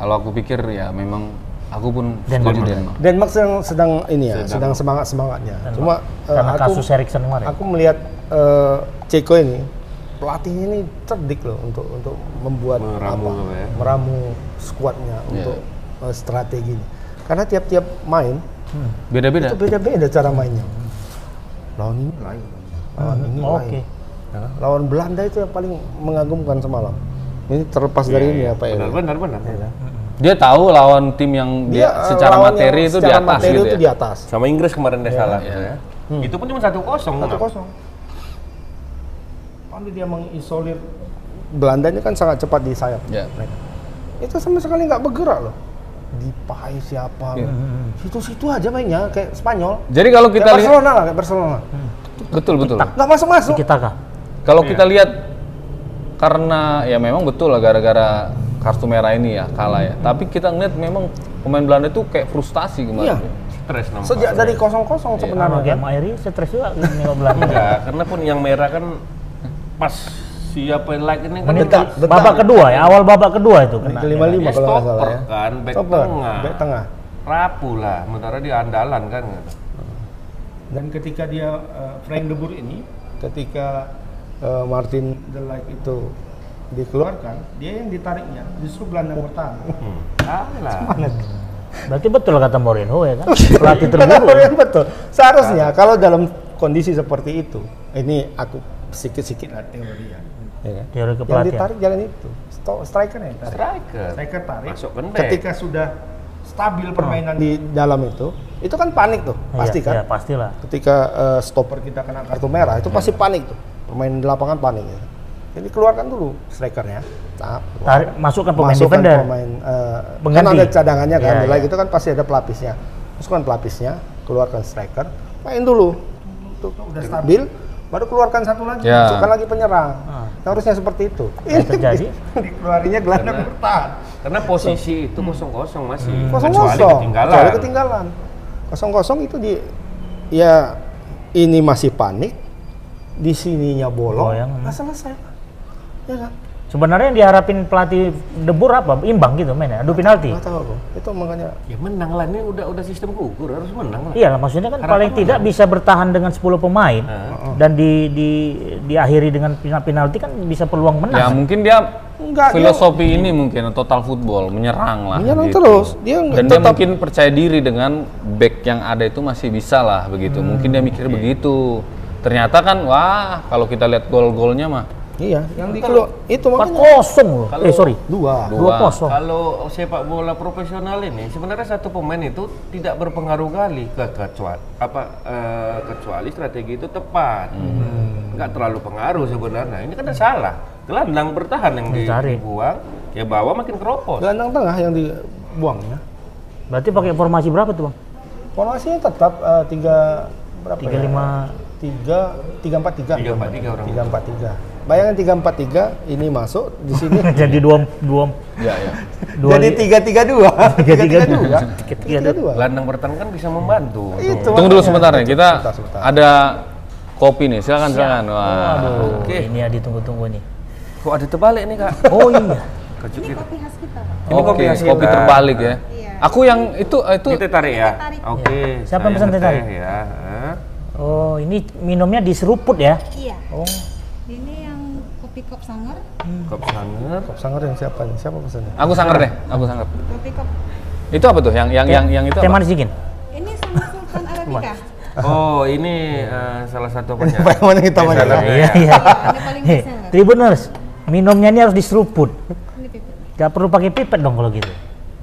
Kalau aku pikir ya memang aku pun Denmark. setuju Denmark. Denmark sedang sedang ini ya, sedang semangat semangatnya. Cuma eh, Karena aku kasus Erikson kemarin. aku melihat eh, Ceko ini pelatihnya ini cerdik loh untuk untuk membuat Meramu apa ya? meramu skuadnya Iya. untuk eh, strateginya. Karena tiap-tiap main Beda-beda. itu beda-beda cara mainnya. Lawan ini lain, Hmm. lawan ini Oh, lain. Oke. Nah, lawan Belanda itu yang paling mengagumkan semalam. Ini terlepas dari Iya, ini apa ya? Benar, benar, benar. Dia tahu lawan tim yang dia, eh, secara lawan materi yang itu di secara atas materi gitu itu ya. di atas. Sama Inggris kemarin Iya, dia salah. ya. Itu pun cuma 1-0. 1-0. 1-0. Lalu dia mengisolir Belanda ini kan sangat cepat di sayap. Ya. Itu sama sekali nggak bergerak loh. Dipakai siapa? Situ-situ aja mainnya kayak Spanyol. Jadi kalau Kayak kita lihat Barcelona lah, kayak Barcelona. betul betul. Nggak masuk-masuk. Kita kah? Kalau kita lihat karena ya memang betul lah gara-gara kartu merah ini ya kalah ya. Tapi kita ngeliat memang pemain Belanda itu kayak frustasi Iya. kemarin. Stres nampak. Sejak dari kosong-kosong Karena sebenarnya. game Mbak Eri stres juga nengok Belanda. Enggak, karena pun yang merah kan pas siapa yang like ini kan Bentar, yang- bentar. Babak kedua ya, awal babak kedua itu Di kena. kelima lima Dia kalau nggak salah stopper ya. kan, back Stopper, tengah. back tengah. rapuh lah, sementara dia andalan kan. Dan ketika dia eh, Frank de Boer ini, ketika eh, Martin de Ligt itu dikeluarkan, dia yang ditariknya justru Belanda bertahan. Salah. Berarti betul kata Mourinho <laughs> ya kan? Pelatih terburuk. Iya, betul. Seharusnya kalau dalam kondisi seperti itu, ini aku sedikit-sedikit lah teori ya. Ya kan? Teori Yang kepelatihan. ditarik jangan itu, Sto- striker yang ditarik. Striker. Striker tarik. Masuk ke back. Ketika sudah stabil permainan di dalam itu, itu kan panik tuh, Iya, pasti kan? Iya, pastilah. ketika eh, stopper kita kena kartu merah itu pasti panik tuh pemain di lapangan panik ya. jadi keluarkan dulu strikernya nah, Tarik, masukkan pemain masukkan defender. pemain eh, kan Pengganti. ada cadangannya kan Iya, di lag iya. itu kan pasti ada pelapisnya masukkan pelapisnya keluarkan striker main dulu tuh udah stabil baru keluarkan satu lagi Ya. Iya. masukkan lagi penyerang harusnya seperti itu Ah. Yang <laughs> terjadi? dikeluarinnya gelandang bertahan Karena posisi itu kosong-kosong masih. Hmm. kosong Kecuali kosong ketinggalan. kecuali ketinggalan kosong kosong itu di ya ini masih panik di sininya bolong Bolong. nggak selesai Pak. ya kan Sebenarnya yang diharapin pelatih debur apa? Imbang gitu mainnya, adu penalti. nggak tahu aku itu makanya Ya menang lah, ini udah udah sistem gugur, harus menang lah. Iya, maksudnya kan Harapan paling tidak bisa bertahan dengan 10 pemain dan di di diakhiri dengan penal- penalti kan bisa peluang Ya menang. mungkin dia enggak dia filosofi ini mungkin total football menyerang lah. gitu. Menyerang terus. Dia nggak- Dan dia tetap- mungkin percaya diri dengan back yang ada itu masih bisa lah Hmm, iya. begitu. Mungkin dia mikir begitu. Ternyata kan wah kalau kita lihat gol-golnya mah Iya. Yang kalau itu Empat makanya kosong loh. Eh sorry, dua. dua kosong. Kalau sepak bola profesional ini sebenarnya satu pemain itu tidak berpengaruh kali ke kecuali apa eh, kecuali strategi itu tepat. Nggak terlalu pengaruh sebenarnya. Ini kan ada salah. Gelandang bertahan yang di- Dicari. dibuang, ya bawa makin keropos. Gelandang tengah yang ya. dibuangnya. Berarti pakai formasi berapa tuh bang? Formasinya tetap eh, tiga berapa? ya? Tiga lima. tiga tiga empat tiga. 3-4-3 orang. Tiga empat tiga. Bayangkan tiga empat tiga ini masuk di sini. Iya. Jadi dua dua Ya, ya. <laughs> dua jadi tiga tiga dua. tiga tiga dua. Tiga Tiga tiga tiga dua. Gelandang bertahan kan bisa membantu. Itu Tunggu dulu makanya. sebentar nih, kita Sebentar, sebentar. ada kopi nih, silakan silakan. Wah. Aduh, Oke. ini ya ditunggu-tunggu nih. Kok ada terbalik nih kak? Oh iya. Kocok Ini kita. kopi khas kita, Pak. Ini kopi Oke, hasil kopi kita. terbalik ya. Iya. Aku yang itu eh, itu Ini teh tarik ya? tarik. Oke. Iya. Siapa yang saya pesan teh tarik? teteh Ya. Hah? Oh, ini minumnya diseruput ya. Iya. Oh, Ini yang kopi kop sangar, Hmm. Kok sangat? Kop Sangar yang siapa nih? Siapa <laughs> pesannya? aku sangger deh, aku sangger. kopi kop. Itu apa tuh? Yang yang yang yang itu teh apa? manis dingin. Ini sama <laughs> Sultan Arabica. Oh, ini eh, salah satu apa? Apa yang mana kita Yang mana? salah. Iya, iya. Ini paling Hei, besar. Tribuners, minumnya ini harus diseruput. Ini pipet. Gak perlu pakai pipet dong kalau gitu.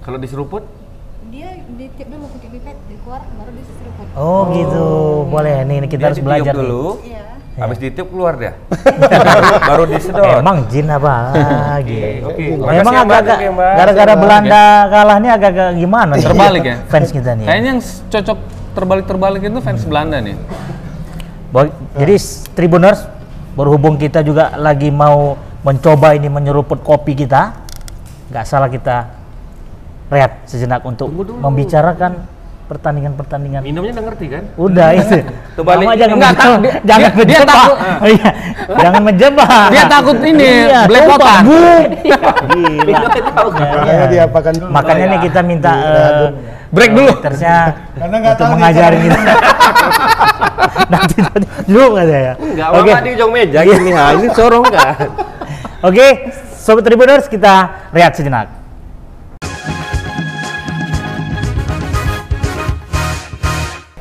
Kalau diseruput? Dia ditiup dulu pakai pipet, dikeluarin baru diseruput. Oh, gitu. Boleh nih nih dia kita harus ditiup belajar dulu. Iya. Habis ditiup keluar <laughs> dia. baru, baru nih. disedot. Emang jin apa <laughs> lagi? Oke. Memang Makasih, Mbak. agak-agak Oke, Mbak. gara-gara Belanda kalah nih agak-agak gimana nih? Terbalik ya? Fans kita nih. Kayaknya yang s- cocok terbalik-terbalik itu fans Belanda nih. Bo- Jadi Ya. s- Tribuners berhubung kita juga lagi mau mencoba ini menyeruput kopi kita, nggak salah kita rehat sejenak untuk membicarakan pertandingan-pertandingan. Minumnya udah ngerti kan? Udah Iya. itu. Terbalik. Mama jangan Nggak, menjebak. tak- dia- jangan dia- dia menjebak. takut. Iya, jangan menjebak. Dia takut ini, Iya, belepotan. tumpah, Bu. Gila. kan? Iya. Makanya diapakan dulu. Iya, Makanya nih kita minta eh, Break dulu. waitersnya Karena nggak untuk tahu nih, mengajarin kita. <laughs> Nanti tadi dulu nggak ya? saya. Enggak, Oke. Mama di ujung meja gini ha. Ini sorong kan? Oke, sobat Tribuners kita rehat sejenak.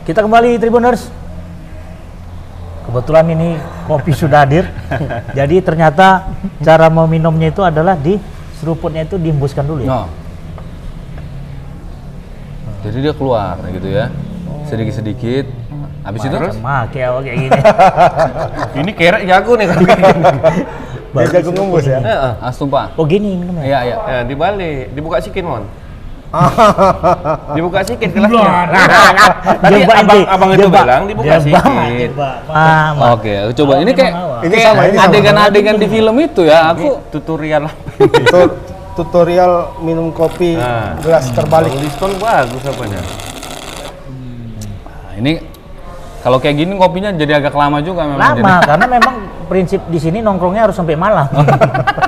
Kita kembali Tribuners. Kebetulan ini kopi sudah <laughs> hadir. Jadi ternyata cara meminumnya itu adalah di seruputnya itu dihembuskan dulu ya. Nah, No. Jadi dia keluar gitu ya. Sedikit-sedikit. Habis itu Sama kayak ya, kayak <laughs> gini. ini kerek jago nih kan. Dia jago ngembus ya. Heeh. langsung Pak. Oh gini minumnya. Ah, Iya, iya. Ya, dibalik, dibuka sikit, <laughs> Mon. dibuka sikit kelasnya. Nah, Tadi Jebak abang, nanti. abang itu Jebak. bilang dibuka Oh, Jebak, sikit. jebak. Mama. Oke, coba ini kayak memang awal. Ini kayak sama, ini sama. adegan-adegan di film itu ya. Ini Aku tutorial Itu tutorial minum kopi Ah. gelas terbalik. Kalau diskon bagus apanya? Nah, ini kalau kayak gini kopinya jadi agak lama juga memang. lama jadi. <laughs> karena memang prinsip di sini nongkrongnya harus sampai malam.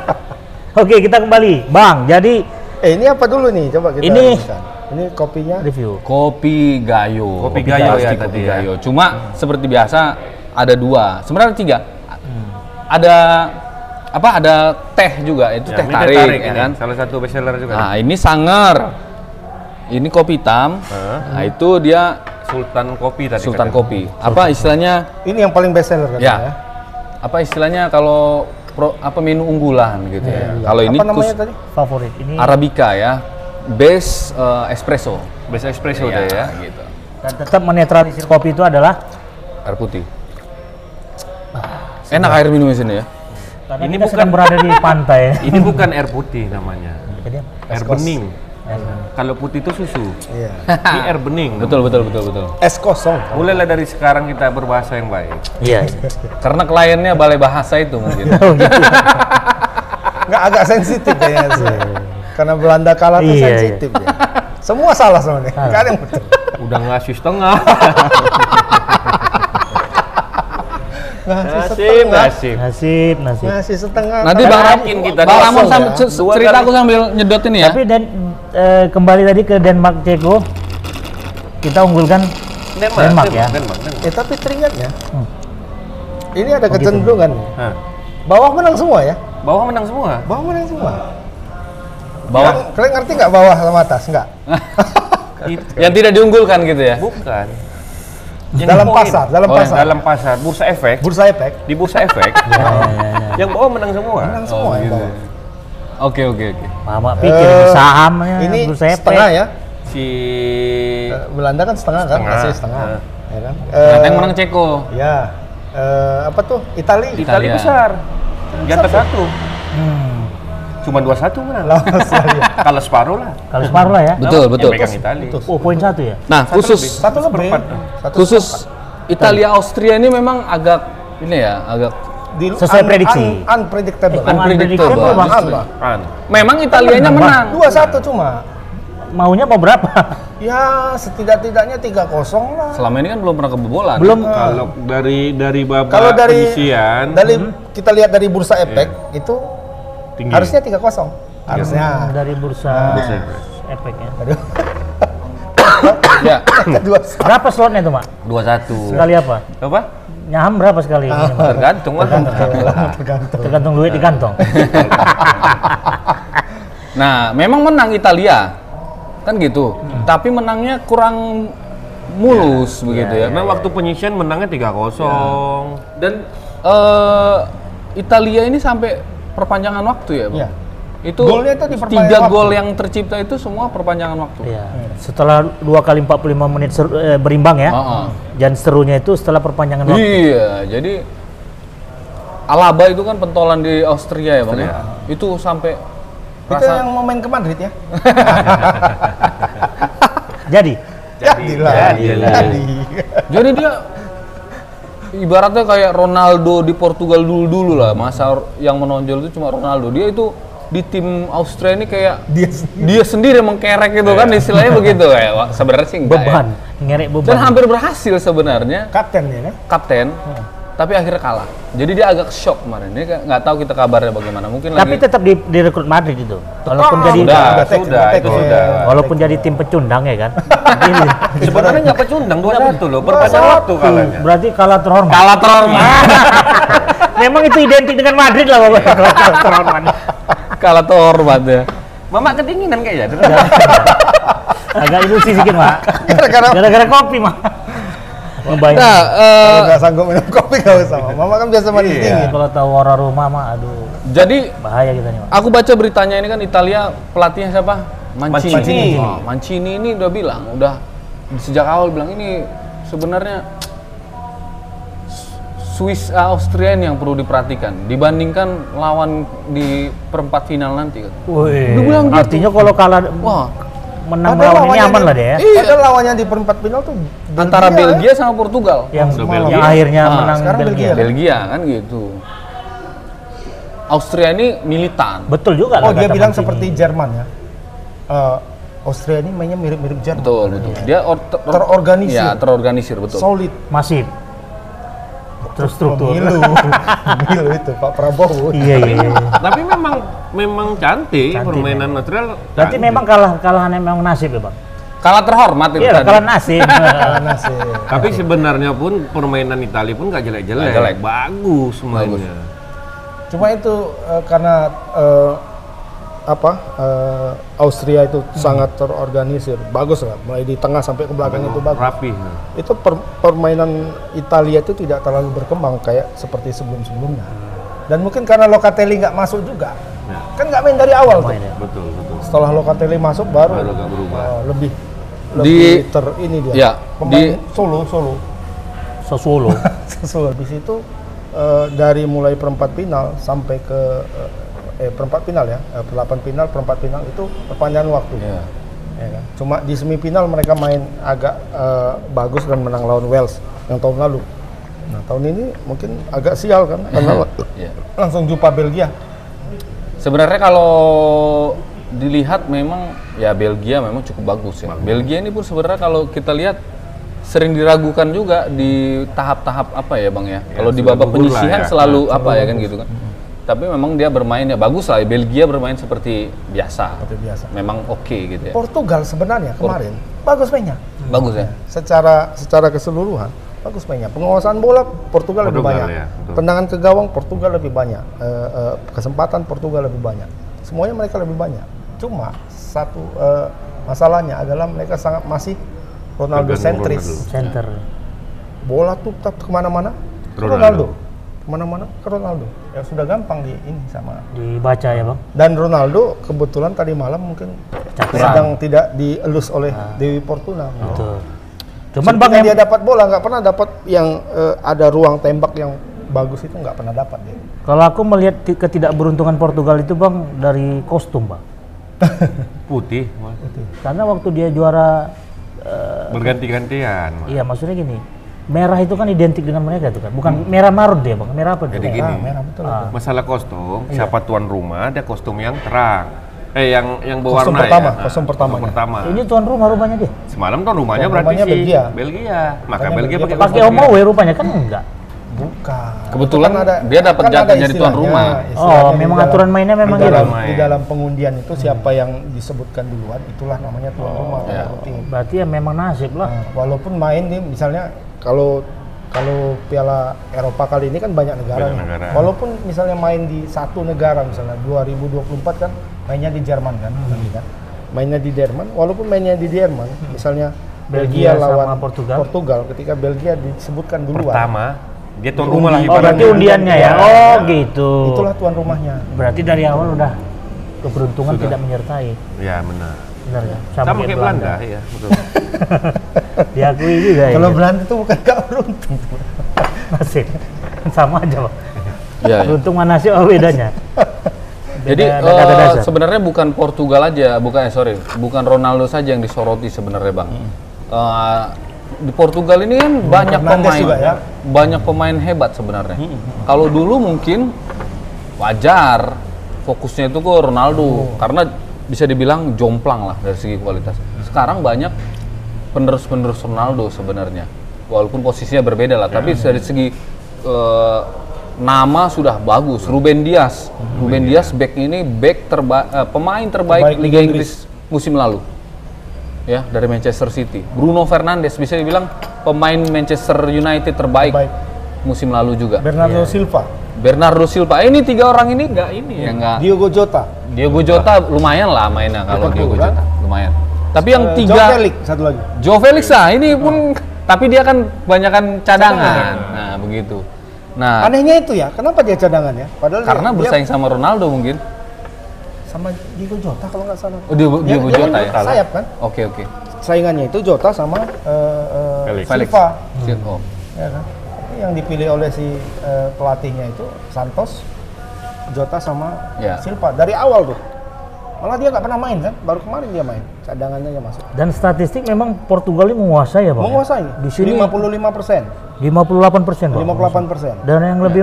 <laughs> Oke, kita kembali. Bang, jadi Eh ini apa dulu nih? Coba kita Ini. rumuskan. Ini kopinya. review. Kopi gayo. Kopi gayo pasti ya kopi tadi ya. gayo. Cuma seperti biasa ada dua, sebenarnya tiga. Hmm. Ada apa? Ada teh juga itu Ya, teh ini tarik, ya ini. kan. Salah satu bestseller juga. Nah ini sanger, ini kopi hitam. Heeh. Nah itu dia Sultan kopi tadi. Sultan katanya. kopi. Apa istilahnya? Ini yang paling best seller Iya. Ya. Apa istilahnya kalau pro- apa menu unggulan gitu ya. Iya. Kalau ini apa kus- namanya tadi? Favorit ini Arabica ya, base eh, espresso. Best espresso Iya, deh ya. gitu. dan tetap menetralisir kopi itu adalah Air putih. Enak air minumnya sini ya. karena Ini ini kita bukan- sedang berada di pantai. Ini bukan air putih namanya. Jadi, Air bening. Kalau putih itu susu. Iya. Ini air bening. Betul betul betul betul. Es kosong. Mulailah dari sekarang kita berbahasa yang baik. Iya. Karena kliennya balai bahasa itu mungkin. Oh, gitu. Nggak agak sensitif kayaknya sih. Karena Belanda kalah tuh Iya, iya. sensitif ya. Semua salah sebenarnya. Nggak ada yang betul. Udah ngasih setengah. Ngasih Nasib, setengah. nasib. <laughs> Nasib, nasib. Ngasih setengah. <laughs> Nanti Karena Bang Ramon, yakin kita Bang nih. Ramon Langsung sambil ya. cer- cerita aku sambil nyedot ini ya. Tapi dan eh, kembali tadi ke Denmark Ceko kita unggulkan Denmark, Denmark, ya. Denmark, Denmark. Eh tapi teringatnya. Hmm. Ini Oh, gitu. ada kecenderungan. Hah. Bawah menang semua ya? Bawah menang semua. Bawah menang semua. Bawah Kalian- Kalian ngerti nggak bawah sama atas? Nggak. yang tidak diunggulkan gitu ya. Bukan. Yang dalam dipoin. pasar, dalam Oh, yang pasar. Dalam pasar, bursa efek, Bursa efek di bursa efek, yang bawa menang semua. menang semua gitu. yang bawah. Oke oke oke. Mama pikir Eh, sahamnya Ini bursa efek. setengah ya. Si Eh, Belanda kan setengah, kan, Setengah. kasih setengah. Nah. Ya kan? Ternyata Eh, yang menang Ceko. Ya. Eh, apa tuh? Itali. Itali Italia. besar, di atas satu. Cuma dua satu menang. Lawan Australia. Kalau separuh lah. Kalau separuh lah ya. Betul, Yang betul. pegang Itali. Oh, poin satu ya. Nah khusus Satu lebih. Seperempat. Satu khusus Italia Austria ini memang agak ini ya agak di- Sesuai prediksi. unpredictable. Eh, unpredictable. Unpredictable, Bang, justru. Bang. An. Memang Italianya menang. Dua satu cuma. Maunya mau berapa? <laughs> Ya setidak-tidaknya 3-0 lah. Selama ini kan belum pernah kebobolan. Belum Kalau dari dari babak Kalau dari penyisian, dari kita lihat dari bursa Iya. efek itu harusnya 3-0. Harusnya. dari Nah, bursa Bursa efek. efek ya. Ya. Iya. <laughs> Dua Berapa slotnya tuh, Mak? dua satu. Sekali apa? Apa? Nyaham berapa sekali? Ah. minimal? Tergantung lah. Iya. tergantung. Tergantung duit di <laughs> kantong. Nah, memang menang Italia. Kan gitu. Tapi menangnya kurang mulus begitu ya. Karena waktu penyisian menangnya 3-0. Dan eh Italia ini sampai perpanjangan waktu ya, Bang? Iya. Itu Golnya itu di perpanjangan tiga waktu. gol yang tercipta itu semua perpanjangan waktu. Iya. Setelah dua kali 45 menit seru- eh, berimbang ya. Heeh. Dan serunya itu setelah perpanjangan waktu. Iya, jadi Alaba itu kan pentolan di Austria ya, Bang. ya? Itu sampai Itu rasa yang mau main ke Madrid ya? Jadi, Iya, Jadilah. jadilah. Jadi. <laughs> Jadi dia ibaratnya kayak Ronaldo di Portugal dulu dulu lah masa or- yang menonjol itu cuma Ronaldo dia itu di tim Austria ini kayak Dia sendiri. dia sendiri yang mengkerek gitu kan istilahnya begitu ya Wak. sebenarnya sih enggak ya. Iya. beban, ngerek beban. dan hampir berhasil sebenarnya Kapten ya kan? kapten tapi akhirnya kalah jadi dia agak shock kemarin dia kayak nggak tahu kita kabarnya bagaimana mungkin Tapi lagi tetap di, direkrut Madrid itu. Walaupun Ah, jadi Sudah, Udah sudah, take, udah take, itu ya. sudah. walaupun jadi tim pecundang ya <laughs> kan. Ini. Sebenarnya nggak pecundang 2-1 loh, perpanjangan waktu kalahnya. Berarti kalah terhormat. kalah terhormat Memang itu identik dengan Madrid lah <laughs> Bapak. Kalah terhormat. kalah terhormat ya Mama kedinginan kayaknya. Iya. Agak ilusi sedikit, Mak. Gara-gara- Gara-gara kopi, Mak. Ngebayangin. nah Kalau eh, nggak sanggup minum kopi nggak usah. Mama. Mama kan biasa mandi Iya. dingin. Kalau tahu warna rumah, Mak, aduh, jadi bahaya kita nih, Mak. Aku baca beritanya ini kan Italia pelatihnya siapa? Mancini. Mancini. Oh, Mancini ini udah bilang, udah sejak awal bilang ini sebenarnya Swiss uh, Austrian yang perlu diperhatikan dibandingkan lawan di perempat final nanti. Wih, Lu bilang gitu. artinya kalau kalah Wah, menang melawan Padahal ini lawannya aman di- lah deh ya. Iya. Padahal lawannya di perempat final tuh Belgia antara ya. Belgia sama Portugal. Yang, Belgia. yang akhirnya Ah, menang Nah, sekarang Belgia. Belgia. Belgia kan gitu. Austria ini militan. Betul juga lah Oh dia kata bilang Mancini. seperti Jerman ya. Eh, Austria ini mainnya mirip-mirip Jerman. Betul, betul. Dia or- ter- Terorganisir. Ya, terorganisir betul. Solid. masif. Terus struktur. Pemilu. Pemilu itu Pak Prabowo. iya, iya. iya. Tapi memang memang cantik, Cantik, permainan natural. Berarti Nah, cantik. memang kalah kalahan memang nasib ya, Bang. Kalah terhormat itu Iya, lah, tadi. kalah nasib. <laughs> Panas ya. Tapi sebenarnya pun permainan Italia pun nggak jelek-jelek. Nggak jelek. Bagus semuanya. Cuma itu eh, karena eh, apa eh, Austria itu sangat terorganisir, bagus lah. Mulai di tengah sampai ke belakang itu bagus. Rapi. Itu per- permainan Italia itu tidak terlalu berkembang kayak seperti sebelum-sebelumnya. Dan mungkin karena Locatelli nggak masuk juga, kan nggak main dari awal tuh. Betul, betul. Setelah Locatelli masuk baru, Baru nggak berubah. eh, lebih Di- lebih ter ini dia. ya, Pemain di- solo solo. <laughs> Sosolo. Sesuai habis itu eh, dari mulai perempat final sampai ke eh, eh perempat final ya, eh, perlapan final, perempat final itu perpanjangan waktu. Iya. Ya kan? Cuma di semifinal mereka main agak eh, bagus dan menang lawan Wales yang tahun lalu. Nah tahun ini mungkin agak sial kan <laughs> karena Iya. langsung jumpa Belgia. Sebenarnya kalau dilihat memang ya Belgia memang cukup bagus ya. Belgia ini pun sebenarnya kalau kita lihat sering diragukan juga di tahap-tahap apa ya bang ya. kalau di babak selalu gugur lah penyisihan ya. selalu apa ya kan gitu kan. Tapi memang dia bermain ya bagus lah. Belgia bermain seperti biasa. Seperti biasa. Memang oke gitu ya. Portugal sebenarnya kemarin bagus mainnya. Bagus ya. secara secara keseluruhan bagus mainnya penguasaan bola Portugal, lebih Portugal, banyak ya, betul. tendangan ke gawang Portugal lebih banyak Eh, eh, kesempatan Portugal lebih banyak semuanya mereka lebih banyak cuma satu eh, masalahnya adalah mereka sangat masih Ronaldo Tergantung sentris Center. bola tuh tak kemana-mana ke Ronaldo. Ronaldo kemana-mana ke Ronaldo ya sudah gampang di ini sama Dibaca ya bang. dan Ronaldo kebetulan tadi malam mungkin sedang tidak dielus oleh Dewi Fortuna Betul. Cuman bang Ketika em- dia dapat bola nggak pernah dapat yang eh, ada ruang tembak yang bagus itu nggak pernah dapat dia Hmm. kalau aku melihat ti- ketidakberuntungan Portugal itu bang dari kostum bang. Putih, Karena waktu dia juara, eh, berganti-gantian. Mas. iya maksudnya gini, merah itu kan identik dengan mereka tuh kan. Bukan merah marun dia bang, merah apa dia? Hmm. Jadi gitu. Iya, gini, Nah, merah Iya. betul Ah, masalah kostum, siapa tuan rumah ada kostum yang terang. Eh yang yang berwarna Kostum pertama, ya. Nah, kostum pertamanya. pertama. ini tuan rumah rupanya dia. Semalam tuan rumahnya Tuan berarti rumahnya si Belgia. Belgia. Maka Makanya Belgia Belgia pakai Pakai kostum omowe rupanya kan enggak. bukan Kebetulan Kan dia dapat kan jatah ada jadi tuan istilahnya, rumah. Ya, istilahnya Oh, di memang dalam- aturan mainnya memang Hmm. di gitu. dalam, Main. di dalam pengundian itu siapa yang disebutkan duluan itulah namanya tuan Oh, rumah tanda kutip. Berarti ya memang nasib lah. Nah, walaupun main nih misalnya kalau kalau Piala Eropa kali ini kan banyak negara. Banyak nih. negara. Walaupun misalnya main di satu negara misalnya 2024 kan mainnya di Jerman kan, nanti kan. Mainnya di Jerman, walaupun mainnya di Jerman, misalnya Belgia Belgia, sama lawan Portugal. ketika Belgia disebutkan duluan. pertama. Dia tuan rumah lah Diundi. Oh, berarti ibaratnya. undiannya ya? Iya. Oh, gitu. Itulah tuan rumahnya. Berarti dari awal udah keberuntungan tidak menyertai. Ya benar. Benar ya? Sama, kayak Belanda, ya. Betul. Diakui juga ya. Kalau Belanda itu bukan gak beruntung. <laughs> nasib. Sama aja, Pak. Iya, iya. Beruntung sama nasib apa oh, bedanya? <laughs> Jadi Ya, Beda- beda- beda eh, dasar. sebenarnya bukan Portugal aja, bukan eh, sorry, bukan Ronaldo saja yang disoroti sebenarnya bang. Eh, di Portugal ini kan banyak Fernandes pemain, juga ya. banyak pemain hebat sebenarnya. Kalau dulu mungkin wajar fokusnya itu ke Ronaldo karena bisa dibilang jomplang lah dari segi kualitas. Sekarang banyak penerus-penerus Ronaldo sebenarnya, walaupun posisinya berbeda lah. Tapi dari segi eh, nama sudah bagus. Ruben Dias, Hmm. Ruben Dias back ini back terba- eh, pemain terbaik Terbaik Liga Liga Inggris musim lalu ya dari Manchester City. Bruno Fernandes bisa dibilang pemain Manchester United terbaik, Terbaik. musim lalu juga. Bernardo Silva, Bernardo Silva Eh, ini tiga orang ini nggak ini ya nggak. Diogo Jota, Diogo Jota lumayan lah mainnya kalau Diogo Liverpool, kan? Jota lumayan. Tapi yang eh, Joe tiga Nah. Felix, Oh. satu lagi. Joe Felix lah ini pun tapi dia kan kebanyakan cadangan. Nah begitu. Nah Anehnya itu ya, kenapa dia cadangan ya? Padahal dia- karena dia bersaing sama Ronaldo mungkin. sama Diego Jota kalau nggak salah. Oh, Diogo, Dia- Diogo dia Jota kan ya. Sayap kan? Oke oke. Saingannya itu Jota sama eh, eh, Felix. Felix. Silva, Sil- oh. ya kan? Yang dipilih oleh si eh, pelatihnya itu Santos, Jota sama Ya. Silva dari awal tuh. Malah dia nggak pernah main kan? Baru kemarin dia main, cadangannya dia masuk. Dan statistik memang Portugal ini menguasai ya, Bang. ya? Menguasai. Di sini 55 persen, 58 persen, Bang. 58 persen. Ya. Dan yang lebih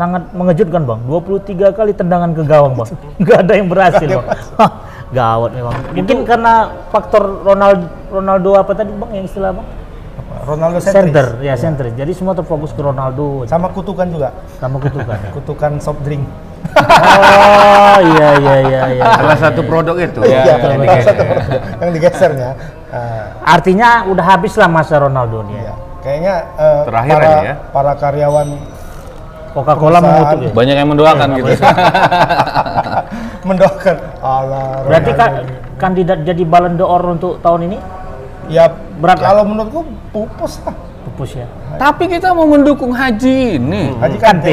sangat mengejutkan bang, 23 kali tendangan ke gawang bang, <laughs> nggak ada yang berhasil bang. Hah, <laughs> Gawat memang. Mungkin karena faktor Ronaldo, Ronaldo apa tadi bang yang istilah bang? Ronaldo sentris. Center, ya center. Jadi semua terfokus ke Ronaldo. Sama kutukan juga, Sama <laughs> kutukan. kutukan soft drink. oh iya iya iya. iya. Salah satu produk itu. Iya, yang yang digeser. digeser. yang digesernya. Ah. Artinya udah habis lah masa Ronaldo nih. Ya. Iya. Kayaknya eh, Terakhir para, ini ya. para karyawan Coca-Cola Perusahaan. mengutuk ya. Banyak yang mendoakan Iya, gitu. mendoakan Allah Berarti ka- kandidat jadi Ballon d'Or untuk tahun ini ya berat lah. kalau menurutku pupus lah pupus ya. Tapi kita mau mendukung Haji ini. Haji kan Kante. Kante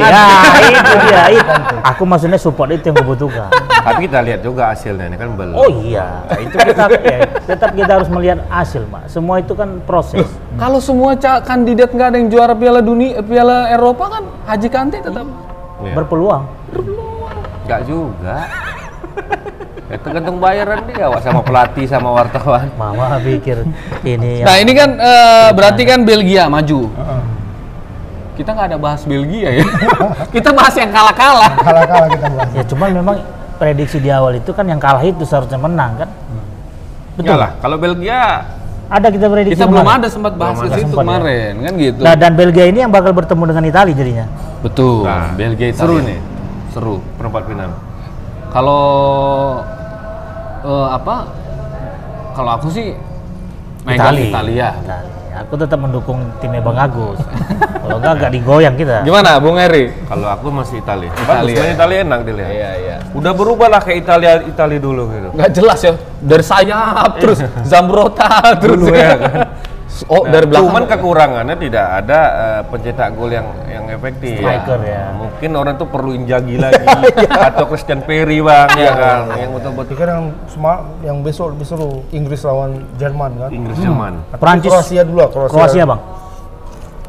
Ya, itu dia. Itu. Aku maksudnya support itu yang kubutuhkan. Tapi kita lihat juga hasilnya ini kan belum. Oh iya. itu tetap ya, tetap kita harus melihat hasil, Mak. Semua itu kan proses. Kalau semua ca- kandidat nggak ada yang juara Piala Dunia, eh, Piala Eropa kan Haji Kante tetap. Iya. Berpeluang. Enggak juga. ya, tergantung bayaran dia Wak, sama pelatih sama wartawan. Mama pikir ini Nah yang- ini kan eh, berarti kan Belgia maju. Kita nggak ada bahas Belgia ya. <laughs> kita bahas yang kalah-kalah. kalah kalah kita bahas ya cuman memang prediksi di awal itu kan yang kalah itu seharusnya menang kan. Betul. Enggak lah, kalau Belgia Ada kita prediksi. Kita belum kemarin. ada sempat bahas Belum ke ada situ sempat, ya. kemarin kan gitu. Nah, dan Belgia ini yang bakal bertemu dengan Italia jadinya. Betul. Nah, Belgia Italia. seru nih. Seru. perempat final. Kalau eh, apa? Kalau aku sih megang Italia. Italia. Aku tetap mendukung timnya Bang Agus. Kalau enggak agak digoyang kita. Gimana, Bung Eri? Kalau aku masih Italia. Italia. Bagus main Italia enak dilihat. Iya, iya. Udah berubah lah ke Italia Italia dulu gitu. nggak jelas ya dari sayap terus zambrota terus Dulu ya kan. <laughs> Oh, dari belakang. Cuman kan- kekurangannya tidak ada eh, pencetak gol yang yang efektif. Striker ya. Mungkin orang tuh perlu Injagi lagi atau Christian Perry bang ya kan yang betul-betul Pikir yang sema- yang besok lebih seru Inggris lawan Jerman kan. Inggris Jerman. Atau Perancis. Kroasia dulu lah, Kroasia. Kroasia bang.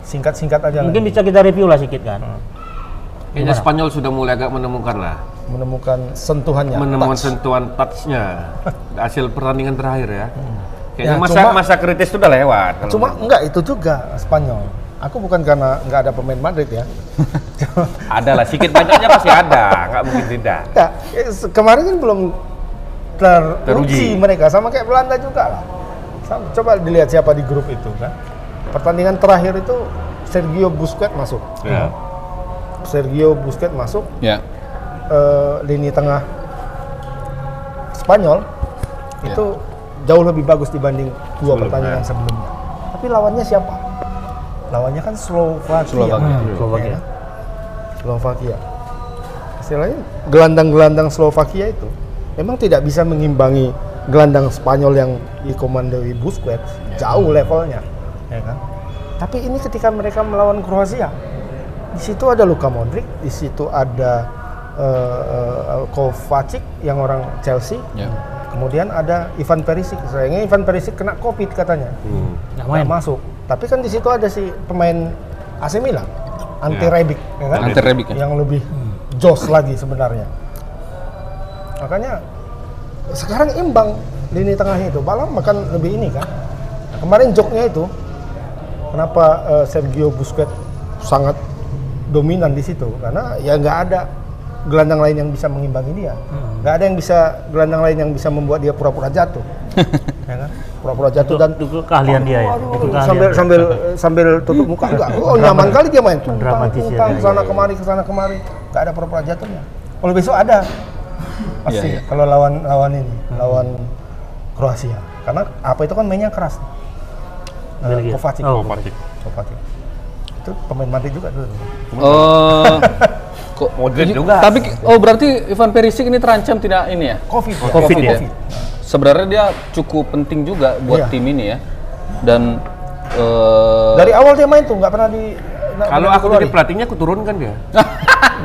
Singkat-singkat aja Mungkin lah. bisa kita review lah sedikit kan. Kayaknya Spanyol sudah mulai agak menemukan lah, menemukan sentuhannya. Ya, menemukan touch. sentuhan touch-nya. Hasil pertandingan terakhir ya. Kayaknya Ya, masa cuma- masa kritis sudah lewat. kalau Cuma menurut enggak itu juga Spanyol. Aku bukan karena enggak ada pemain Madrid ya. gua. ada lah, sedikit banyaknya pasti ada, nggak mungkin tidak. Enggak, eh, se- kemarin kan belum teruji Teruji. mereka sama kayak Belanda juga lah. Sama, coba dilihat siapa di grup itu kan. Pertandingan terakhir itu Sergio Busquets masuk. Ya. Sergio Busquets masuk Ya. eh, lini tengah Spanyol itu jauh lebih bagus dibanding dua Sebelumnya. pertandingan Iya. sebelumnya. Tapi lawannya siapa? Lawannya kan Slovakia. Slovakia. Hmm, Slovakia. Slovakia. Istilahnya gelandang-gelandang Slovakia itu memang tidak bisa mengimbangi gelandang Spanyol yang dikomandoi Busquets. Jauh levelnya, ya kan? Tapi ini ketika mereka melawan Kroasia, di situ ada Luka Modric, di situ ada eh, eh, Kovacic yang orang Chelsea. Ya. Kemudian ada Ivan Perisic. Sayangnya Ivan Perisic kena Covid katanya. Nggak main. Nggak masuk. Tapi kan di situ ada si pemain AC Milan, anti Rebic, ya kan? Anti Rebic, ya. yang lebih jos lagi sebenarnya. Makanya sekarang imbang lini tengahnya itu. Balang makan lebih ini kan. Nah, kemarin joknya itu kenapa eh, Sergio Busquets sangat dominan di situ karena ya nggak ada gelandang lain yang bisa mengimbangi dia. Nggak ada yang bisa gelandang lain yang bisa membuat dia pura-pura jatuh. ya kan? Pura-pura jatuh dan Itu keahlian dia ya. Itu keahlian sambil dia. ya, sambil sambil tutup muka enggak oh nyaman kali dia main tuh Mendramatisir. ke sana kemari ke sana kemari enggak ada pura-pura jatuhnya kalau besok ada pasti Iya, iya. kalau lawan lawan ini lawan Kroasia karena apa itu kan mainnya keras Eh, Belgia. Kovacic Oh, Kovacic. Kovacic itu pemain Madrid juga dulu Eh kok Modric Ini- juga. Tapi oh berarti Ivan Perisic ini terancam tidak ini ya? Covid ya? Covid ya? Sebenarnya dia cukup penting juga buat Iya. tim ini ya. Dan eh dari awal dia main tuh nggak pernah di nggak Kalau pernah aku dikeluarin. jadi pelatihnya aku turunkan dia.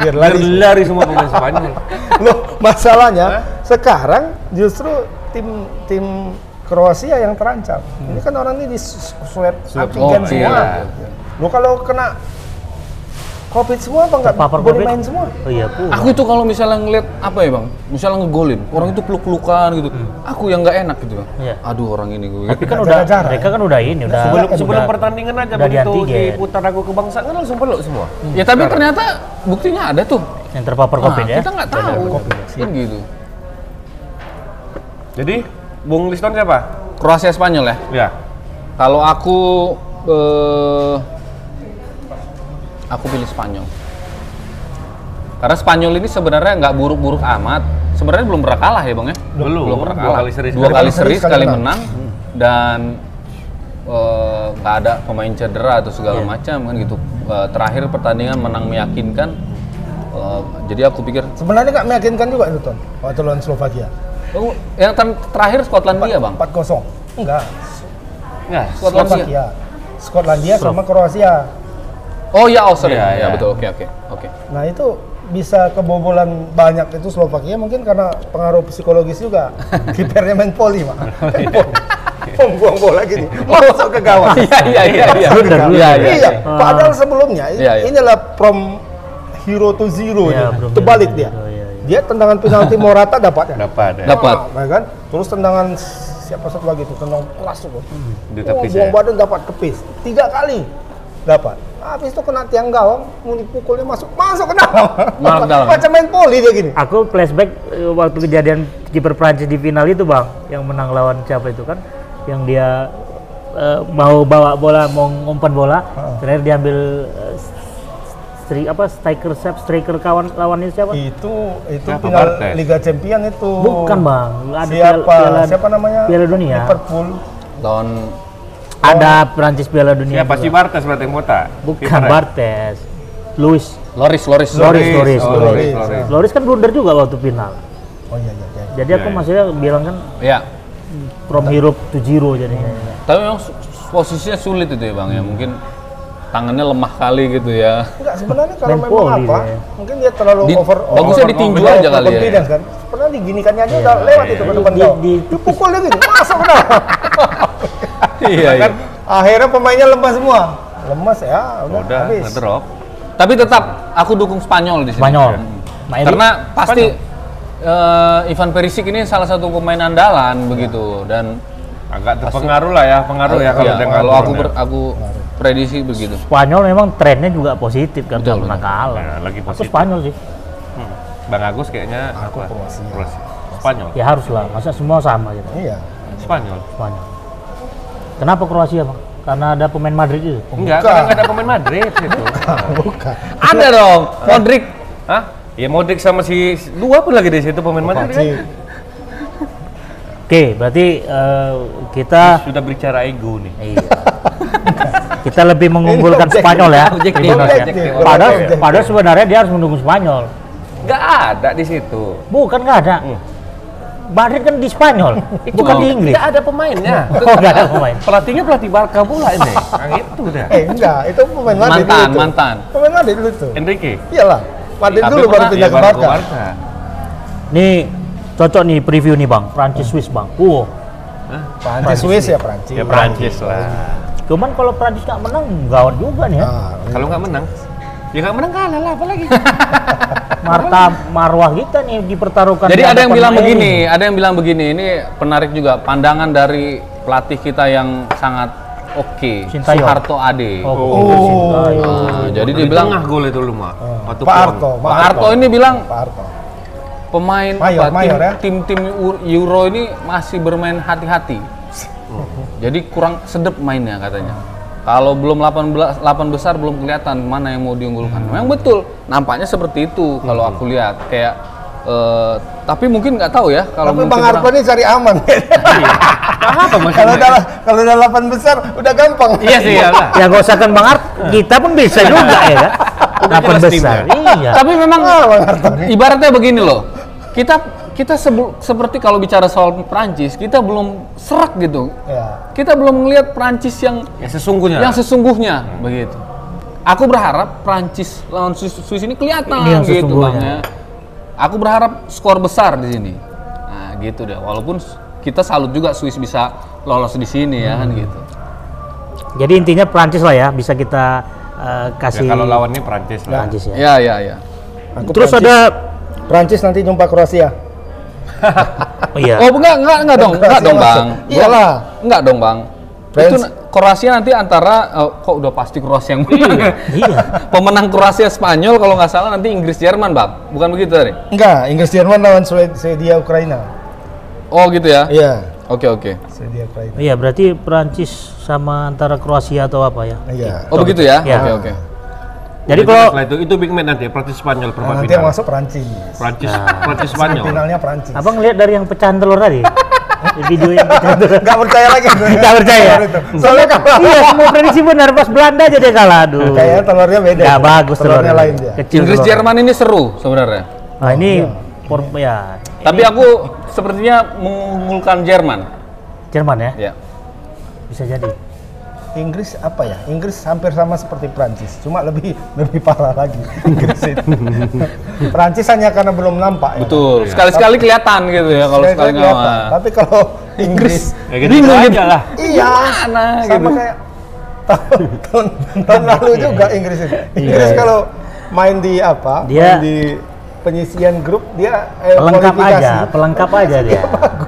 biar Lari, lari lari semua pemain Spanyol. Loh, masalahnya sekarang justru tim tim Kroasia yang terancam. Ini kan orang ini di s- swab antigen Oh, semua. Hmm. iya. Lo kalau kena Covid semua apa nggak Terpapar boleh Covid. main semua? Oh iya, aku. aku itu kalau misalnya ngeliat apa ya bang, misalnya ngegolin, orang itu peluk-pelukan gitu. Aku yang nggak enak gitu bang. Iya. Aduh orang ini gue. Tapi kan Nggak udah jaga jarak. mereka kan udah ini udah Sebelum udah- sebelum pertandingan aja udah begitu diantigen. diputar aku kebangsaan kan langsung peluk semua. Ya tapi ternyata buktinya ada tuh. yang terpapar Nah, covid ya. Kita nggak tahu. Kan gitu. Jadi Bung Liston siapa? Kroasia Spanyol ya. Ya. Kalau aku eh, aku pilih Spanyol. Karena Spanyol ini sebenarnya nggak buruk-buruk amat. Sebenarnya belum pernah kalah ya bang ya. Belum. Belum pernah Dua kalah. kali seri, Dua sekali kali menang. seri, Sekali sekali menang. menang dan eh, nggak ada pemain cedera atau segala macam kan gitu. Eh, terakhir pertandingan menang meyakinkan. Eh, jadi aku pikir Sebenarnya nggak meyakinkan juga itu Ton. Waktu lawan Slovakia oh, yang ter- terakhir Skotlandia bang. 4-0. Enggak. Ya. Skotlandia. Slovakia. Skotlandia sama Kroasia. Oh ya, oh sorry. Iya, Ya, iya. betul. Oke, oke, oke. Nah itu bisa kebobolan banyak itu Slovakia mungkin karena pengaruh psikologis <laughs> juga. Kipernya main poli, Mak. Oh, iya. Main poli. Pom buang bola gini, masuk ke <laughs> gawang. Iya, iya, iya, iya. Masuk ke Bener, gawang. iya, iya, Iya, iya. Ah. padahal sebelumnya Iya, iya. inilah from hero to zero Iya, nih. from Terbalik hero to dia. zero, iya, iya. Dia tendangan penalti Morata <laughs> dapat ya. Dapat ya. Dapat. Ah, ya kan? Terus tendangan siapa satu lagi itu tendang keras tuh. Hmm, Di Oh, tepis buang ya. badan dapat kepis. Tiga kali dapat. Habis itu kena tiang gawang, mau dipukulnya masuk, masuk <laughs> ke dalam. Malah ke dalam. Macam main poli dia gini. Aku flashback eh, waktu kejadian kiper Prancis di final itu bang, yang menang lawan siapa itu kan, yang dia eh, mau bawa bola, mau ngumpan bola, terakhir diambil eh, stri- apa striker siap striker kawan lawannya siapa? Itu itu Siapa? final Bartes? Liga Champion itu. Bukan bang, ada Siapa? Piala, siapa namanya? Piala Dunia. Liverpool. Oh. Lawan Ada Prancis Piala Dunia. Ya pasti juga. Bartes berarti yang botak. Bukan ya? Kipernya. Bartes, Luis. Loris, Loris. Loris, Loris, Loris, oh, Loris, Loris. Hmm. Loris. Loris kan blunder juga waktu final. Oh iya iya iya. Jadi Ya, aku ya. maksudnya bilang kan Ya. from hero to zero jadinya. Hmm. Tapi memang Su- posisinya sulit itu ya bang ya mungkin tangannya lemah kali gitu ya Enggak sebenarnya kalau Main memang volley apa, dia. mungkin dia terlalu Di- over. bagusnya ditinju over- aja kali ya. confidence kan. Sebenarnya diginikannya aja udah lewat itu ke depan Di- gawang. di- Dipukul dia gitu, masuk ke dalam. iya, iya. Kan akhirnya pemainnya lemas semua. Lemas ya, udah, Udah, habis. ngedrop. tapi tetap aku dukung Spanyol di sini Iya. Spanyol. Iya. Nah, ini- karena pasti eh, Ivan Perisic ini salah satu pemain andalan begitu dan Agak terpengaruh lah ya, pengaruh ya kalau iya, dengan kalau aku turunnya. ber- aku prediksi begitu Spanyol memang trennya juga positif kan nggak Betul, pernah betul. kalah. Ya, lagi Aku positif. Spanyol sih. Hmm. Bang Agus kayaknya Aku apa? Kroasia. Kroasia. Spanyol. Ya harus lah, masa semua sama gitu. Iya. <laughs> Spanyol. Spanyol. Kenapa Kroasia, Bang? Karena ada pemain Madrid itu. Bukan. Enggak, karena nggak ada pemain Madrid itu. Bukan. ada dong Modric Hah? Ya Modric sama si dua pun lagi di situ pemain Madrid. Pasti. kan? Oke, berarti eh, kita Sudah berbicara ego nih. iya. kita lebih mengunggulkan objektif. Spanyol ya. Objektif, Iya, Tribuners ya. objektif, Padahal objektif. padahal sebenarnya dia harus mendukung Spanyol. Nggak ada di situ. Bukan nggak ada. Hmm. Madrid kan di <laughs> Spanyol, bukan kan di Inggris. <laughs> Nggak ada pemainnya. Oh, nggak ada pemain. Pelatihnya pelatih Barca pula ini. Nah, gitu dah. Eh, enggak, itu pemain Madrid Mantan, dulu tuh. mantan. Pemain Madrid dulu tuh. Enrique. Iyalah, Madrid Tapi dulu baru pernah- pindah Iya, ke baru Barca. Nih cocok nih preview nih Bang, Prancis Swiss Bang. Wow. Prancis Swiss iya. ya Prancis. Ya Prancis lah. Cuman kalau Prancis nggak menang gawat juga Iya. nih ya. Ah, Kalau nggak menang, ya nggak menang kalah lah apalagi. Marta marwah kita nih dipertaruhkan. Jadi di ada yang hadapan bilang Mourinho. begini, ada yang bilang begini, ini penarik juga pandangan dari pelatih kita yang sangat oke, Sintayong. Soeharto Ade. Oh, Nah, jadi dia Di bilang tengah gol itu lu mah. Waktu Pak pulang. Arto, Pak Arto ini bilang Pak Arto. pemain Mayor, apa, mayor ya. tim, tim tim Eu- Euro ini masih bermain hati-hati. Jadi kurang sedep mainnya katanya. Kalau belum 18 8 besar belum kelihatan mana yang mau diunggulkan. Memang betul, nampaknya seperti itu kalau aku lihat kayak eh, tapi mungkin nggak tahu ya kalau Iya. Tapi mungkin Bang Arto kurang- ini cari aman. Nah, Apa kalau maksudnya? udah kalau udah 8 besar udah gampang. Iya sih ya lah. Ya nggak usah kan Bang Art, kita pun <laughs> bisa juga ya kan. Dapat jelas besar. Iya. Tapi memang Ah, Bang Arto nih. ibaratnya begini loh. Kita kita sebel- seperti kalau bicara soal Prancis, kita belum serak gitu. Ya. Kita belum melihat Prancis yang Ya sesungguhnya. Iya. yang sesungguhnya begitu. Aku berharap Prancis lawan Swiss, Swiss ini kelihatan Ini yang gitu Bang sesungguhnya. ya. Aku berharap skor besar di sini. Nah, gitu deh. Walaupun s- kita salut juga Swiss bisa lolos di sini ya kan Hmm. gitu. Jadi intinya Prancis lah ya bisa kita eh, Ya, kasih kalau lawannya Prancis lah. Prancis ya. Ya ya ya. Aku Terus Prancis- ada Prancis nanti jumpa Kroasia. oh, iya. Oh enggak, enggak, enggak dong, enggak dong Kroasia bang. masuk. Iyalah. Enggak dong bang. Itu Friends. na- Kroasia nanti antara, eh, kok udah pasti Kroasia yang menang. Iya. <laughs> Pemenang Kroasia Spanyol kalau nggak salah nanti Inggris Jerman bang. Bukan begitu tadi? Enggak, Inggris Jerman lawan Swed- Swedia Ukraina. Oh gitu ya? Iya, Oke oke. Swedia Ukraina. Iya, berarti Prancis sama antara Kroasia atau apa ya. Iya. Oh begitu ya? Ya. Oke oke. Jadi Itu kalau setelah itu itu big match nanti Prancis Nah, Spanyol perempat nanti final. yang masuk Prancis. Prancis Prancis Spanyol. Finalnya Prancis. Abang lihat dari yang pecahan telur tadi. Di video yang pecahan telur. <laughs> Enggak percaya lagi. Enggak percaya. Itu. Soalnya kan kalah. iya, semua prediksi benar pas Belanda aja dia kalah. Aduh. Kayaknya telurnya beda. Nggak bagus telurnya. telurnya. lain dia. Kecil Inggris telurnya. Jerman ini seru sebenarnya. Nah, ini por ya Tapi aku sepertinya mengunggulkan Jerman. Jerman ya. Ya. Bisa jadi. Inggris apa ya? Inggris hampir sama seperti Prancis, cuma lebih <laughs> lebih parah lagi. Inggris <laughs> itu. Prancis hanya karena belum nampak. ya. Iya. Betul. Sekali-sekali kelihatan gitu ya kalau sekali Kelihatan. nggak. Tapi kalau Inggris Ya gitu aja lah. Iya. Gimana sama gitu. kayak tahun, tahun, tahun lalu juga Inggris itu. Inggris Iya. kalau main di apa? Dia- main di penyisian grup dia eh, Pelengkap kualifikasi. aja, pelengkap aja dia.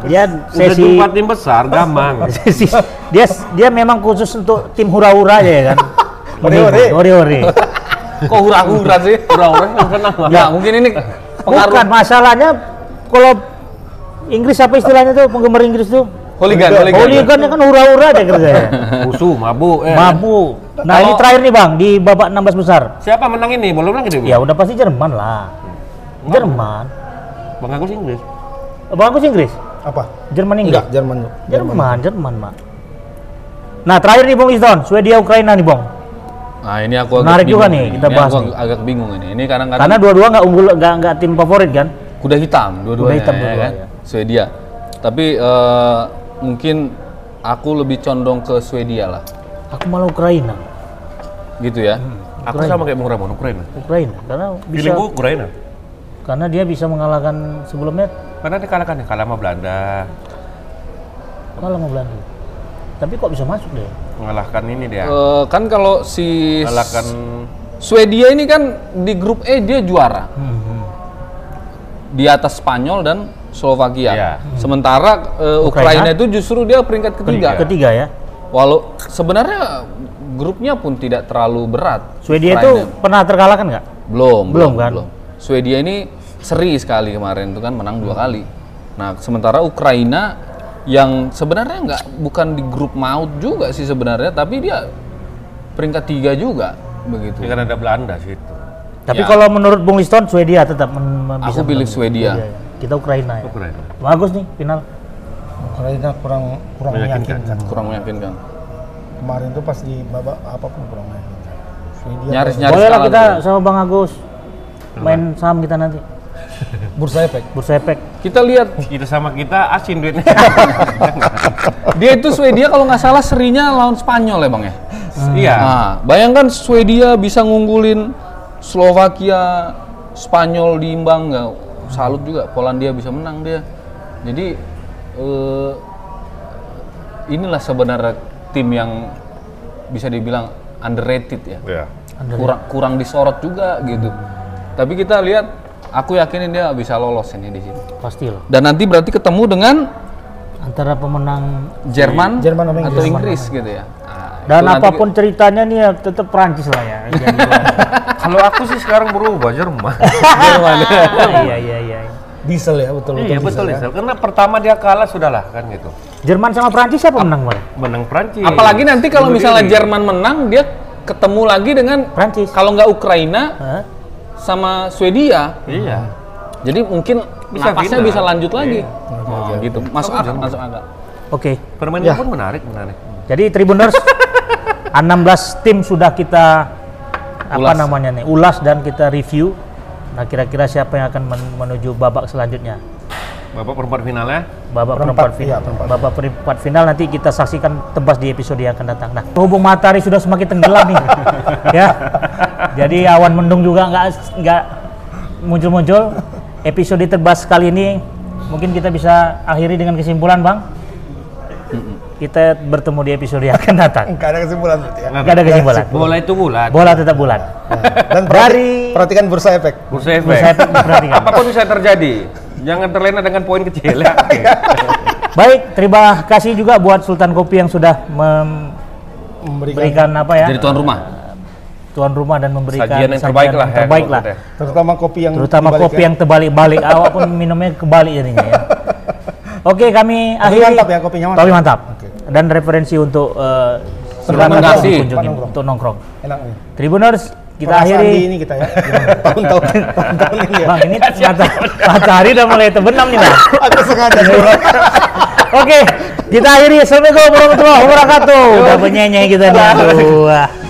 Dia Udah sesi jumpa tim besar, gampang. <laughs> sesi dia dia memang khusus untuk tim hura-hura aja ya kan. Ore-ore. Ore-ore. Kok hura-hura <laughs> sih? Hura-hura Nggak, mungkin ini pengaruh Bukan masalahnya kalau Inggris apa istilahnya tuh penggemar Inggris tuh? hooligan, hooligan. Hooligan kan hura-hura aja kerjanya. Musuh, mabuk. eh. Mabuk. Nah, ini Kalau- terakhir nih Bang di babak 16 besar. Siapa menang ini? Belum lagi dia. Ya udah pasti Jerman lah. Jerman. Bang Agus Inggris. Bang aku Inggris. Apa? Jerman Inggris. Enggak, Jerman. Jerman, Jerman, Mak. Nah, terakhir nih Bung Iston, Swedia Ukraina nih, Bong. Nah ini aku agak Menarik bingung juga nih, kita Ini bahas aku nih. ag- agak bingung ini. Ini kadang-kadang Karena dua-dua nggak unggul, nggak nggak tim favorit kan? kuda hitam dua-duanya. Kuda hitam ya dua-duanya. kan? Swedia. Tapi eh, mungkin aku lebih condong ke Swedia lah. Aku malah Ukraina. gitu ya. Hmm. Aku sama kayak Bung Ramon, Ukraina. Ukraina karena bisa Feeling gue Ukraina. karena dia bisa mengalahkan sebelumnya Karena dikalahkan ya, kalah sama Belanda. malah sama Belanda. Tapi kok bisa masuk deh? Mengalahkan ini dia. Eh, kan kalau si Mengalahkan Swedia ini kan di grup E dia juara. Di atas Spanyol dan Slovakia. Iya. Sementara eh, Ukraina. Ukraina itu justru dia peringkat ketiga. Ketiga ya. Walau sebenarnya grupnya pun tidak terlalu berat. Swedia itu Ukraina. pernah terkalahkan nggak? belum, Belum kan? Swedia ini seri sekali kemarin itu kan menang dua kali. Nah, sementara Ukraina yang sebenarnya nggak bukan di grup maut juga sih sebenarnya, tapi dia peringkat tiga juga begitu. ini kan ada Belanda situ. Tapi Ya. kalau menurut Bung Liston Swedia tetap men- men- bisa Aku pilih menang. Swedia. Iya, iya. Kita Ukraina ya. Ukraina. Bagus nih final. Ukraina kurang kurang Meyakinkan. meyakinkan. Kurang meyakinkan. Kemarin tuh pas di babak apapun kurang meyakinkan. Swedia Nyaris nyaris Boleh lah kalah kita tuh. sama Bang Agus main saham kita nanti. Bursa Efek. Bursa efek. Kita lihat Kita sama kita asin duitnya. <laughs> dia itu Swedia kalau nggak salah serinya lawan Spanyol ya bang ya. Iya. Nah, bayangkan Swedia bisa ngunggulin Slovakia, Spanyol diimbang nggak? Salut juga, Polandia bisa menang dia. Jadi eh, inilah sebenarnya tim yang bisa dibilang underrated ya. Iya. Kurang kurang disorot juga gitu. Tapi kita lihat, aku yakinin dia bisa lolos ini di sini. Pasti loh. Dan nanti berarti ketemu dengan Antara pemenang Jerman, Jerman sama Inggris. atau Inggris gitu ya. Ah, dan itu nanti- apapun ceritanya nih ya tetap Prancis lah ya. Jadi, Kalau aku sih sekarang berubah Jerman. <laughs> Iya iya iya. Diesel ya betul betul. iya betul ya. Karena pertama dia kalah sudahlah kan gitu. Jerman sama Prancis siapa menang kemarin? Menang Prancis. Apalagi nanti kalau Iya. Bunuh misalnya diri. Jerman menang, dia ketemu lagi dengan Prancis. kalau nggak Ukraina Hah? sama Swedia. Iya. Jadi mungkin Bisa napasnya final. bisa lanjut lagi. Iya. Oh, gitu. Masuk akal, masuk akal. Oke. Ya. Permainan pun menarik, menarik. Jadi Tribuners 16 tim sudah kita apa Ulas. namanya nih ulas dan kita review. Nah kira-kira siapa yang akan men- menuju babak selanjutnya? Bapak perempat finalnya. babak Perempat, perempat, final. iya, perempat. babak perempat final nanti kita saksikan tebas di episode yang akan datang. Nah, berhubung matahari sudah semakin tenggelam nih, <laughs> ya. Jadi awan mendung juga nggak nggak muncul-muncul. Episode tebas kali ini mungkin kita bisa akhiri dengan kesimpulan, bang. Kita bertemu di episode yang akan datang. Enggak ada kesimpulan berarti <laughs> ya. Nggak ada kesimpulan. Bola itu bulat. Bola tetap bulat. Dan Dari- perhati- perhatikan Bursa Efek. Bursa efek. Saya perhatikan. Apapun bisa terjadi. Jangan terlena dengan poin <laughs> kecil ya. Baik, terima kasih juga buat Sultan Kopi yang sudah memberikan Memberikan apa ya? Jadi tuan rumah. tuan rumah dan memberikan Sajian yang terbaik lah ya, terbaik kalau lah. kita. terutama kopi yang terutama dibalik kopi ya. yang terbalik-balik awak pun minumnya kebalik jadinya ya oke kami Tapi akhiri mantap ya, kopinya mantap. Tapi mantap. Oke. dan referensi untuk eh, silakan Rekomendasi. dikunjungi Nongkrong. untuk nongkrong enak nih. Tribuners kita Perasaan akhiri di ini kita <laughs> ya. Tahun-tahun tahun-tahun ini ya. bang ini mata- matahari udah mulai terbenam nih bang Aku sengaja kurang. oke kita akhiri assalamualaikum warahmatullahi wabarakatuh udah penyanyi kita nih aduh